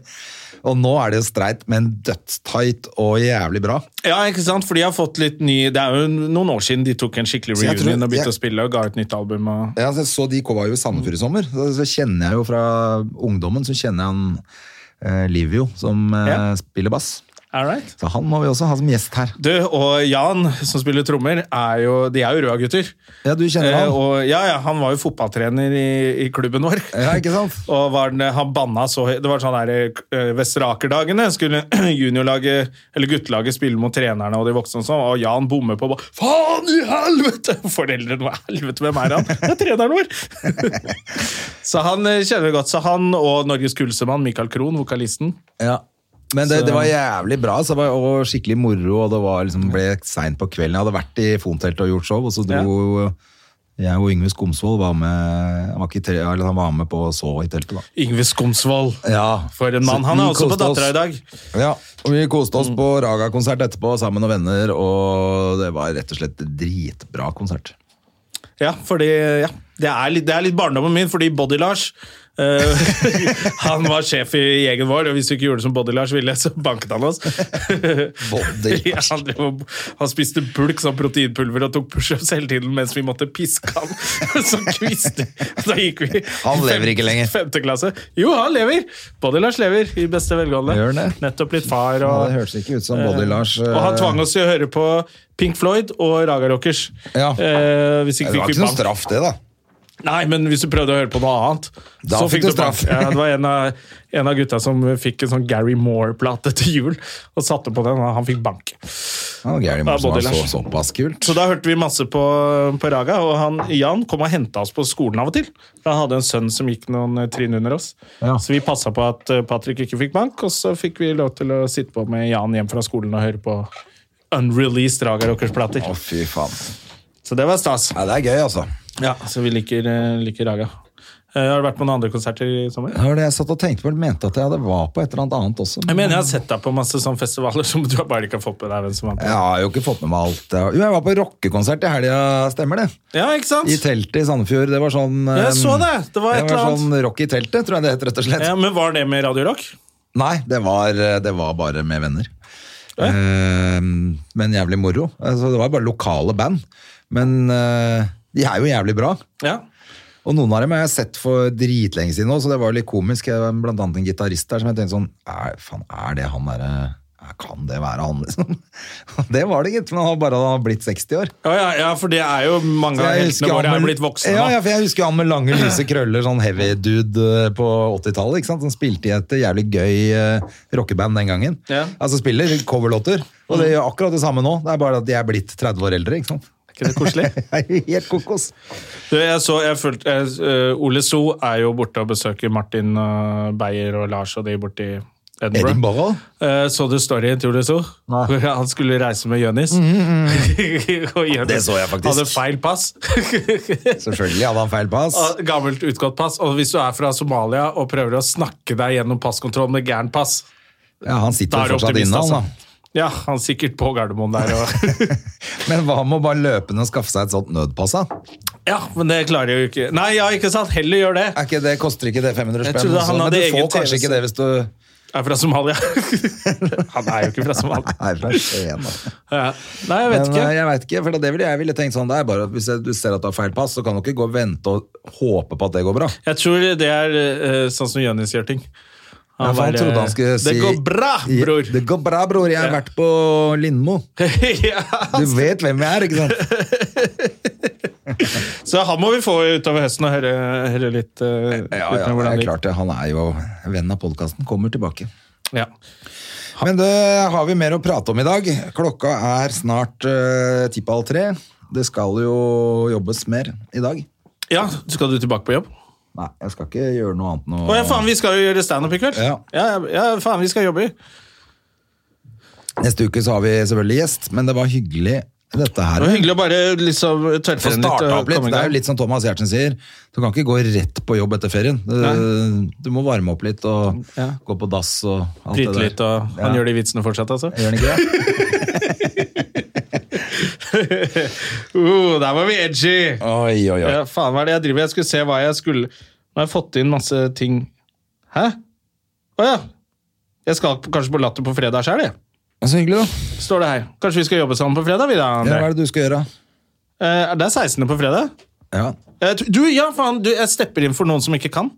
[SPEAKER 1] Og nå er det jo streit, men dødstight og jævlig bra.
[SPEAKER 2] Ja, ikke sant? For de har fått litt ny Det er jo noen år siden de tok en skikkelig
[SPEAKER 1] Så jeg
[SPEAKER 2] reunion
[SPEAKER 1] tror-
[SPEAKER 2] og begynte
[SPEAKER 1] jeg-
[SPEAKER 2] å spille og ga ut nytt album. Og...
[SPEAKER 1] Ja, så, så de var jo i Sandefjord i sommer. Så, så kjenner jeg jo fra ungdommen, så kjenner jeg han eh, Livio, som eh,
[SPEAKER 2] Ja.
[SPEAKER 1] spiller bass.
[SPEAKER 2] All right.
[SPEAKER 1] Så han må vi også ha som gjest her.
[SPEAKER 2] Du og Jan, som spiller trommer, er jo, de er jo Røa-gutter.
[SPEAKER 1] Ja, du kjenner
[SPEAKER 2] Eh,
[SPEAKER 1] han.
[SPEAKER 2] og, ja, ja, han var jo fotballtrener i, i klubben vår.
[SPEAKER 1] Ja, ikke sant?
[SPEAKER 2] Og var den, eh, han banna så høyt. Det var sånn der eh, Vestre Aker-dagene. Skulle *clears throat* juniorlaget, eller guttelaget, spille mot trenerne og de voksne og sånn, og Jan bommer på. og ba, Faen i helvete! *laughs* Foreldrene hva i helvete, hvem er han? Det er treneren vår! *laughs* så han eh, kjenner vi godt. Så han og Norges kulsemann, Michael Krohn, vokalisten.
[SPEAKER 1] Ja. Men det, det var jævlig bra så det var, og skikkelig moro, og det var liksom, ble seint på kvelden. Jeg hadde vært i Fonteltet og gjort show, og så dro jeg og Yngve Skomsvold var med, han var, ikke, i tre- eller han var med på og så i teltet. da.
[SPEAKER 2] Yngve Skomsvold.
[SPEAKER 1] Ja.
[SPEAKER 2] For en mann.
[SPEAKER 1] Så
[SPEAKER 2] Han
[SPEAKER 1] vi
[SPEAKER 2] er også på
[SPEAKER 1] koste oss.
[SPEAKER 2] Dattera i dag.
[SPEAKER 1] Ja, og Vi koste oss på Raga-konsert etterpå sammen med venner, og det var rett og slett dritbra konsert.
[SPEAKER 2] Ja, fordi ja, det, er litt, det er litt barndommen min, fordi Body-Lars eh, *laughs* Han var sjef i gjengen vår, og hvis vi ikke gjorde det som Body-Lars ville, så banket
[SPEAKER 1] *laughs*
[SPEAKER 2] han oss.
[SPEAKER 1] Body
[SPEAKER 2] Ja, han, drev og- han spiste bulk som proteinpulver og tok pushups hele tiden mens vi måtte piske han *laughs* som kvister. Da gikk vi i
[SPEAKER 1] Han lever ikke lenger.
[SPEAKER 2] Femte klasse. Jo, han lever! Body-Lars lever i beste velgående.
[SPEAKER 1] Gjør han det?
[SPEAKER 2] Nettopp litt far
[SPEAKER 1] Ja,
[SPEAKER 2] og
[SPEAKER 1] det hørtes ikke ut som eh, Body-Lars.
[SPEAKER 2] og han tvang oss til å høre på Pink Floyd og Raga Rockers.
[SPEAKER 1] Ja.
[SPEAKER 2] Eh, hvis
[SPEAKER 1] Det
[SPEAKER 2] ikke
[SPEAKER 1] var
[SPEAKER 2] fikk
[SPEAKER 1] ikke
[SPEAKER 2] vi
[SPEAKER 1] noe
[SPEAKER 2] bank.
[SPEAKER 1] straff, det, da.
[SPEAKER 2] Nei, men hvis du prøvde å høre på noe annet,
[SPEAKER 1] Da fikk du
[SPEAKER 2] bank.
[SPEAKER 1] straff.
[SPEAKER 2] Ja, det var en
[SPEAKER 1] *laughs*
[SPEAKER 2] av, en av gutta som fikk en sånn Gary Moore-plate til jul, og satte på den, og han fikk bank.
[SPEAKER 1] Ja, Gary Monsen
[SPEAKER 2] Body
[SPEAKER 1] var så,
[SPEAKER 2] Lars.
[SPEAKER 1] såpass kult.
[SPEAKER 2] Så da hørte vi masse på, på Raga, og han, Jan kom og henta oss på skolen av og til. Han hadde en sønn som gikk noen eh, trinn under oss,
[SPEAKER 1] Ja.
[SPEAKER 2] så vi passa på at eh, Patrick ikke fikk bank, og så fikk vi lov til å sitte på med Jan hjem fra skolen og høre på unreleased Raga Rockers-plater.
[SPEAKER 1] Å, fy faen.
[SPEAKER 2] Så det var stas.
[SPEAKER 1] Nei, det er gøy, altså.
[SPEAKER 2] Ja, så vi liker, eh, liker Raga. Eh, Har du vært på noen andre konserter i sommer?
[SPEAKER 1] Det var det jeg satt og tenkte på, eller mente at jeg hadde var på et eller annet annet også.
[SPEAKER 2] Jeg mener jeg har sett deg på masse sånne festivaler som du bare ikke har fått med deg hvem som var på.
[SPEAKER 1] Jeg har jo ikke fått med meg alt. jeg har- Jo, jeg var på rockekonsert i helga, stemmer det?
[SPEAKER 2] Ja, ikke sant?
[SPEAKER 1] I teltet i Sandefjord. Det var sånn
[SPEAKER 2] Ja, jeg
[SPEAKER 1] eh,
[SPEAKER 2] så det. Det var et eller annet.
[SPEAKER 1] sånn rock i teltet, tror jeg det het, rett og slett.
[SPEAKER 2] Ja, men var det med Radio Rock?
[SPEAKER 1] Nei, det var, det var bare med venner. Eh, men jævlig moro. Altså, det var bare lokale band. Men eh, de er jo jævlig bra.
[SPEAKER 2] Ja.
[SPEAKER 1] Og noen av dem har jeg sett for dritlenge siden nå, så det var jo litt komisk. Jeg var Blant annet en gitarist der som jeg tenkte sånn er, faen, er det han derre ja, Kan det være han, *laughs* liksom? Og det var det, gitt. Men han var bare han var blitt 60 år.
[SPEAKER 2] Ja, ja, ja, for det er jo mange av heltene våre er blitt voksne
[SPEAKER 1] ja,
[SPEAKER 2] nå.
[SPEAKER 1] ja, for jeg husker han med lange, lyse krøller, sånn heavy dude eh, på 80-tallet. ikke sant? Han spilte i et jævlig gøy eh, rockeband den gangen.
[SPEAKER 2] Ja.
[SPEAKER 1] Altså spiller coverlåter. Og det gjør akkurat det samme nå, det er bare at de er blitt 30 år eldre. ikke sant?
[SPEAKER 2] Er ikke det
[SPEAKER 1] *laughs*
[SPEAKER 2] koselig?
[SPEAKER 1] Helt kokos.
[SPEAKER 2] Du, jeg så, jeg følte, jeg, eh, Ole So er jo borte og besøker Martin eh, Beyer og Lars og de borte i Edinburgh.
[SPEAKER 1] Edinburgh?
[SPEAKER 2] Eh, så du storyen til Ole So?
[SPEAKER 1] Nei. Mm,
[SPEAKER 2] Hvor *laughs* han skulle reise med Jonis. *laughs* Og Jonis
[SPEAKER 1] Det så jeg faktisk.
[SPEAKER 2] Hadde feil pass.
[SPEAKER 1] Selvfølgelig hadde han feil pass.
[SPEAKER 2] Ah, Gammelt utgått pass. Og hvis du er fra Somalia og prøver å snakke deg gjennom passkontroll med gæren pass,
[SPEAKER 1] Ja, han
[SPEAKER 2] da
[SPEAKER 1] sitter
[SPEAKER 2] er du
[SPEAKER 1] jo fortsatt
[SPEAKER 2] optimist,
[SPEAKER 1] inne,
[SPEAKER 2] altså.
[SPEAKER 1] han da.
[SPEAKER 2] Ja, han er sikkert på Gardermoen der og *laughs*
[SPEAKER 1] Men hva med å bare løpe ned og skaffe seg et sånt nødpass? da?
[SPEAKER 2] Ja, men det klarer jeg jo ikke. Nei, ja, ikke sant? Heller gjør det.
[SPEAKER 1] Er ikke det, Koster ikke det 500
[SPEAKER 2] Jeg
[SPEAKER 1] spenn?
[SPEAKER 2] trodde
[SPEAKER 1] også?
[SPEAKER 2] han
[SPEAKER 1] Men
[SPEAKER 2] hadde
[SPEAKER 1] du får
[SPEAKER 2] egen TV
[SPEAKER 1] kanskje ikke det hvis du
[SPEAKER 2] Er fra Somalia. *laughs* Han er jo ikke fra Somalia.
[SPEAKER 1] Nei, fra Skien, da.
[SPEAKER 2] Ja. Nei, jeg vet
[SPEAKER 1] Men, eh,
[SPEAKER 2] ikke.
[SPEAKER 1] jeg vet ikke, for det ville jeg ville tenkt sånn det er bare at Hvis du ser at du har feil pass, så kan du ikke gå og vente og håpe på at det går bra.
[SPEAKER 2] Jeg tror det er eh, sånn som Jonis gjør ting.
[SPEAKER 1] Ja, for han
[SPEAKER 2] bare,
[SPEAKER 1] trodde han skulle si
[SPEAKER 2] Det går bra, bror!
[SPEAKER 1] Det går bra, bror. Jeg har
[SPEAKER 2] Ja.
[SPEAKER 1] vært på Lindmo.
[SPEAKER 2] *laughs* ja.
[SPEAKER 1] Du vet hvem jeg er, ikke
[SPEAKER 2] *laughs*
[SPEAKER 1] sant?
[SPEAKER 2] Så han må vi få utover høsten og høre, høre litt. eh,
[SPEAKER 1] Ja,
[SPEAKER 2] litt med
[SPEAKER 1] ja, det
[SPEAKER 2] hvordan
[SPEAKER 1] er
[SPEAKER 2] det gikk.
[SPEAKER 1] klart det. Han er jo venn av podkasten. Kommer tilbake.
[SPEAKER 2] Ja.
[SPEAKER 1] Men det har vi mer å prate om i dag. Klokka er snart uh, ti på halv tre. Det skal jo jobbes mer i dag.
[SPEAKER 2] ja, skal du tilbake på jobb?
[SPEAKER 1] Nei, jeg skal ikke gjøre noe annet nå.
[SPEAKER 2] Å ja, faen, vi skal jo gjøre standup i kveld!
[SPEAKER 1] Ja.
[SPEAKER 2] Ja, ja, faen, vi skal jobbe.
[SPEAKER 1] Neste uke så har vi selvfølgelig gjest, men det var hyggelig dette her.
[SPEAKER 2] Det var hyggelig å bare liksom
[SPEAKER 1] Få
[SPEAKER 2] tørrfrem litt.
[SPEAKER 1] starta
[SPEAKER 2] og
[SPEAKER 1] opp litt.
[SPEAKER 2] komme i
[SPEAKER 1] Det er
[SPEAKER 2] gang.
[SPEAKER 1] jo litt som Thomas Giertsen sier, du kan ikke gå rett på jobb etter ferien. Du, du må varme opp litt og
[SPEAKER 2] Ja.
[SPEAKER 1] gå på dass og alt
[SPEAKER 2] Drite
[SPEAKER 1] det der.
[SPEAKER 2] litt, og han
[SPEAKER 1] Ja.
[SPEAKER 2] gjør de vitsene fortsatt, altså.
[SPEAKER 1] Gjør han ikke det?
[SPEAKER 2] *laughs* uh, der var vi edgy!
[SPEAKER 1] Oi, oi, oi.
[SPEAKER 2] Ja, faen, hva er det jeg driver med? Jeg skulle se hva jeg skulle Nå har jeg fått inn masse ting Hæ? Å ja. Jeg skal kanskje på Latter på fredag sjøl, jeg.
[SPEAKER 1] Så hyggelig, da.
[SPEAKER 2] Står det her. Kanskje vi skal jobbe sammen på fredag, vi da?
[SPEAKER 1] Ja, hva
[SPEAKER 2] André?
[SPEAKER 1] er det du skal gjøre?
[SPEAKER 2] Eh, er det 16. på fredag?
[SPEAKER 1] Ja.
[SPEAKER 2] Eh, du, ja, faen, du, jeg stepper inn for noen som ikke kan.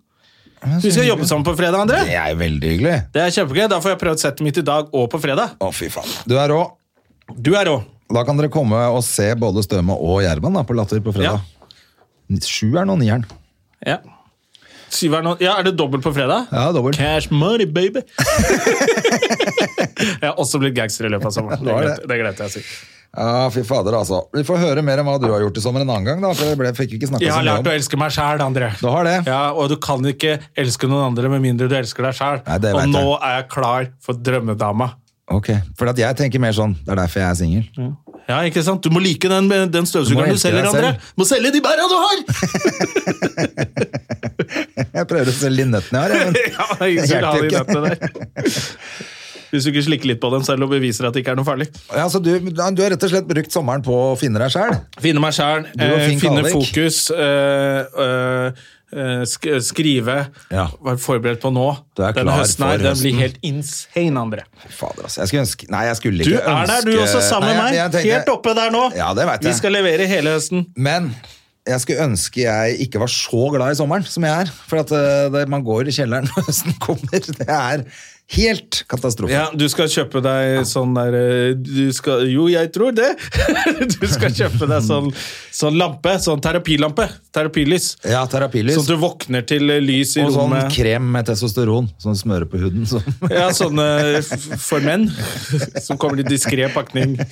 [SPEAKER 2] Vi skal jobbe sammen på fredag, André.
[SPEAKER 1] Det er jo veldig hyggelig.
[SPEAKER 2] Det er kjempegøy. Da får jeg prøvd settet mitt i dag og på fredag.
[SPEAKER 1] Å, fy faen. Du er rå.
[SPEAKER 2] Du er rå.
[SPEAKER 1] Da kan dere komme og se både Støme og Gjerman da, på Latter på fredag. Sjueren og nieren.
[SPEAKER 2] Ja. Syveren og Ja, er det dobbelt på fredag?
[SPEAKER 1] Ja, dobbelt.
[SPEAKER 2] Cash money, baby! *laughs* jeg har også blitt gangster i løpet av sommeren.
[SPEAKER 1] Du
[SPEAKER 2] Det
[SPEAKER 1] har
[SPEAKER 2] glemte,
[SPEAKER 1] det.
[SPEAKER 2] det glemte jeg å si.
[SPEAKER 1] Ja, fy fader, altså. Vi får høre mer om hva du har gjort i sommer en annen gang, da. For jeg ble, fikk ikke snakket
[SPEAKER 2] Jeg
[SPEAKER 1] så
[SPEAKER 2] har
[SPEAKER 1] mye
[SPEAKER 2] lært
[SPEAKER 1] om
[SPEAKER 2] å elske meg sjæl, André.
[SPEAKER 1] Du har det?
[SPEAKER 2] Ja, og du kan ikke elske noen andre med mindre du elsker deg sjæl.
[SPEAKER 1] Nei, det
[SPEAKER 2] Og
[SPEAKER 1] vet jeg.
[SPEAKER 2] nå er jeg klar for drømmedama.
[SPEAKER 1] Ok. For at jeg tenker mer sånn. Det er derfor jeg er singel.
[SPEAKER 2] Ja, ikke sant? Du må like den, den
[SPEAKER 1] Du må
[SPEAKER 2] støvsugeren du,
[SPEAKER 1] elske
[SPEAKER 2] selger,
[SPEAKER 1] deg
[SPEAKER 2] André.
[SPEAKER 1] selv.
[SPEAKER 2] Du må selge de bæra du har!
[SPEAKER 1] *laughs* Jeg prøver å selge de nøttene jeg
[SPEAKER 2] *laughs*
[SPEAKER 1] har, jeg,
[SPEAKER 2] ja, det er ingen som vil ha de
[SPEAKER 1] Hjelper
[SPEAKER 2] nøttene der. Hvis du ikke slikker litt på dem selv og beviser at det ikke er noe farlig.
[SPEAKER 1] men ja, så du, du har rett og slett brukt sommeren på å finne deg sjæl?
[SPEAKER 2] Finne meg sjæl,
[SPEAKER 1] Du og Finn
[SPEAKER 2] finne
[SPEAKER 1] Kalvik.
[SPEAKER 2] fokus, eh, eh, eh, sk skrive.
[SPEAKER 1] Ja.
[SPEAKER 2] Vær forberedt på nå.
[SPEAKER 1] Du er
[SPEAKER 2] Denne
[SPEAKER 1] klar
[SPEAKER 2] høsten
[SPEAKER 1] for
[SPEAKER 2] her, den
[SPEAKER 1] høsten.
[SPEAKER 2] blir helt insane, André.
[SPEAKER 1] Fader, altså. Jeg skulle ønske Nei, jeg skulle
[SPEAKER 2] Du
[SPEAKER 1] ikke
[SPEAKER 2] er der, du
[SPEAKER 1] ønske-
[SPEAKER 2] også, sammen med
[SPEAKER 1] Nei,
[SPEAKER 2] meg.
[SPEAKER 1] jeg- jeg tenkte-
[SPEAKER 2] Helt oppe der nå.
[SPEAKER 1] Ja, det vet jeg.
[SPEAKER 2] Vi skal levere hele høsten.
[SPEAKER 1] Men jeg skulle ønske jeg ikke var så glad i sommeren som jeg er. For at eh, det, man går i kjelleren *laughs* når høsten kommer. Det er helt katastrofe.
[SPEAKER 2] Ja, du skal kjøpe deg sånn der eh, du skal, Jo, jeg tror det! *laughs* Du skal kjøpe deg sånn, sånn lampe. Sånn terapilampe. Terapilys.
[SPEAKER 1] Ja, terapilys.
[SPEAKER 2] Sånn at du våkner til eh, lys i
[SPEAKER 1] og sånn
[SPEAKER 2] rommet.
[SPEAKER 1] krem med testosteron som du smører på huden. Så.
[SPEAKER 2] Ja, sånne f- for menn *laughs* som kommer i diskré pakning.
[SPEAKER 1] Det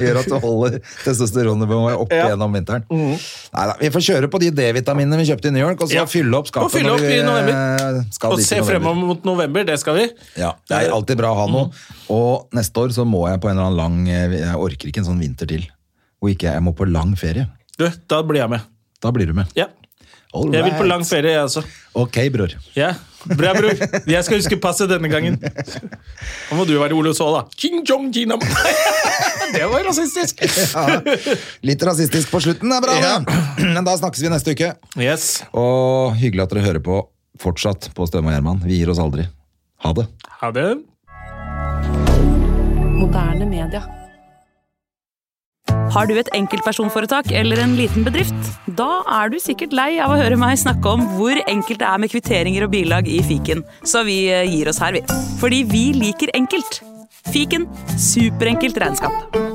[SPEAKER 1] *laughs* gjør at du holder testosteronnivået oppe
[SPEAKER 2] Ja. Mhm.
[SPEAKER 1] gjennom vinteren. Neida, vi får kjøre på de D-vitaminene vi kjøpte i New York, og så
[SPEAKER 2] Ja.
[SPEAKER 1] fylle opp skapet
[SPEAKER 2] Og fylle
[SPEAKER 1] når
[SPEAKER 2] opp
[SPEAKER 1] vi,
[SPEAKER 2] i november.
[SPEAKER 1] eh, skal
[SPEAKER 2] Og
[SPEAKER 1] dit i
[SPEAKER 2] se
[SPEAKER 1] november.
[SPEAKER 2] fremover mot november, det skal vi.
[SPEAKER 1] Ja, det er alltid bra å ha noe. Og neste år så må jeg på en eller annen lang eh, Jeg orker ikke en sånn vinter til. Og ikke jeg må på lang ferie.
[SPEAKER 2] Eh, Du, da blir jeg med.
[SPEAKER 1] Da blir du med.
[SPEAKER 2] Ja.
[SPEAKER 1] All
[SPEAKER 2] Jeg vil på
[SPEAKER 1] right.
[SPEAKER 2] lang ferie, jeg også.
[SPEAKER 1] Ok, *laughs* bror.
[SPEAKER 2] Ja, Bra, bror. Jeg skal huske passet denne gangen. Nå må du være Ole Saa, da. Ching chong china. *laughs* Det var rasistisk!
[SPEAKER 1] Ja, litt rasistisk på slutten er bra, det. *clears throat* Men da snakkes vi neste uke.
[SPEAKER 2] Yes.
[SPEAKER 1] Og hyggelig at dere hører på fortsatt på Støme og Gjerman. Vi gir oss aldri. Ha det.
[SPEAKER 2] Ha det.
[SPEAKER 3] Moderne media.
[SPEAKER 4] Har du et enkeltpersonforetak eller en liten bedrift? Da er du sikkert lei av å høre meg snakke om hvor enkelt det er med kvitteringer og bilag i fiken, så vi eh, gir oss her, vi. Fordi vi liker enkelt. Fiken superenkelt regnskap.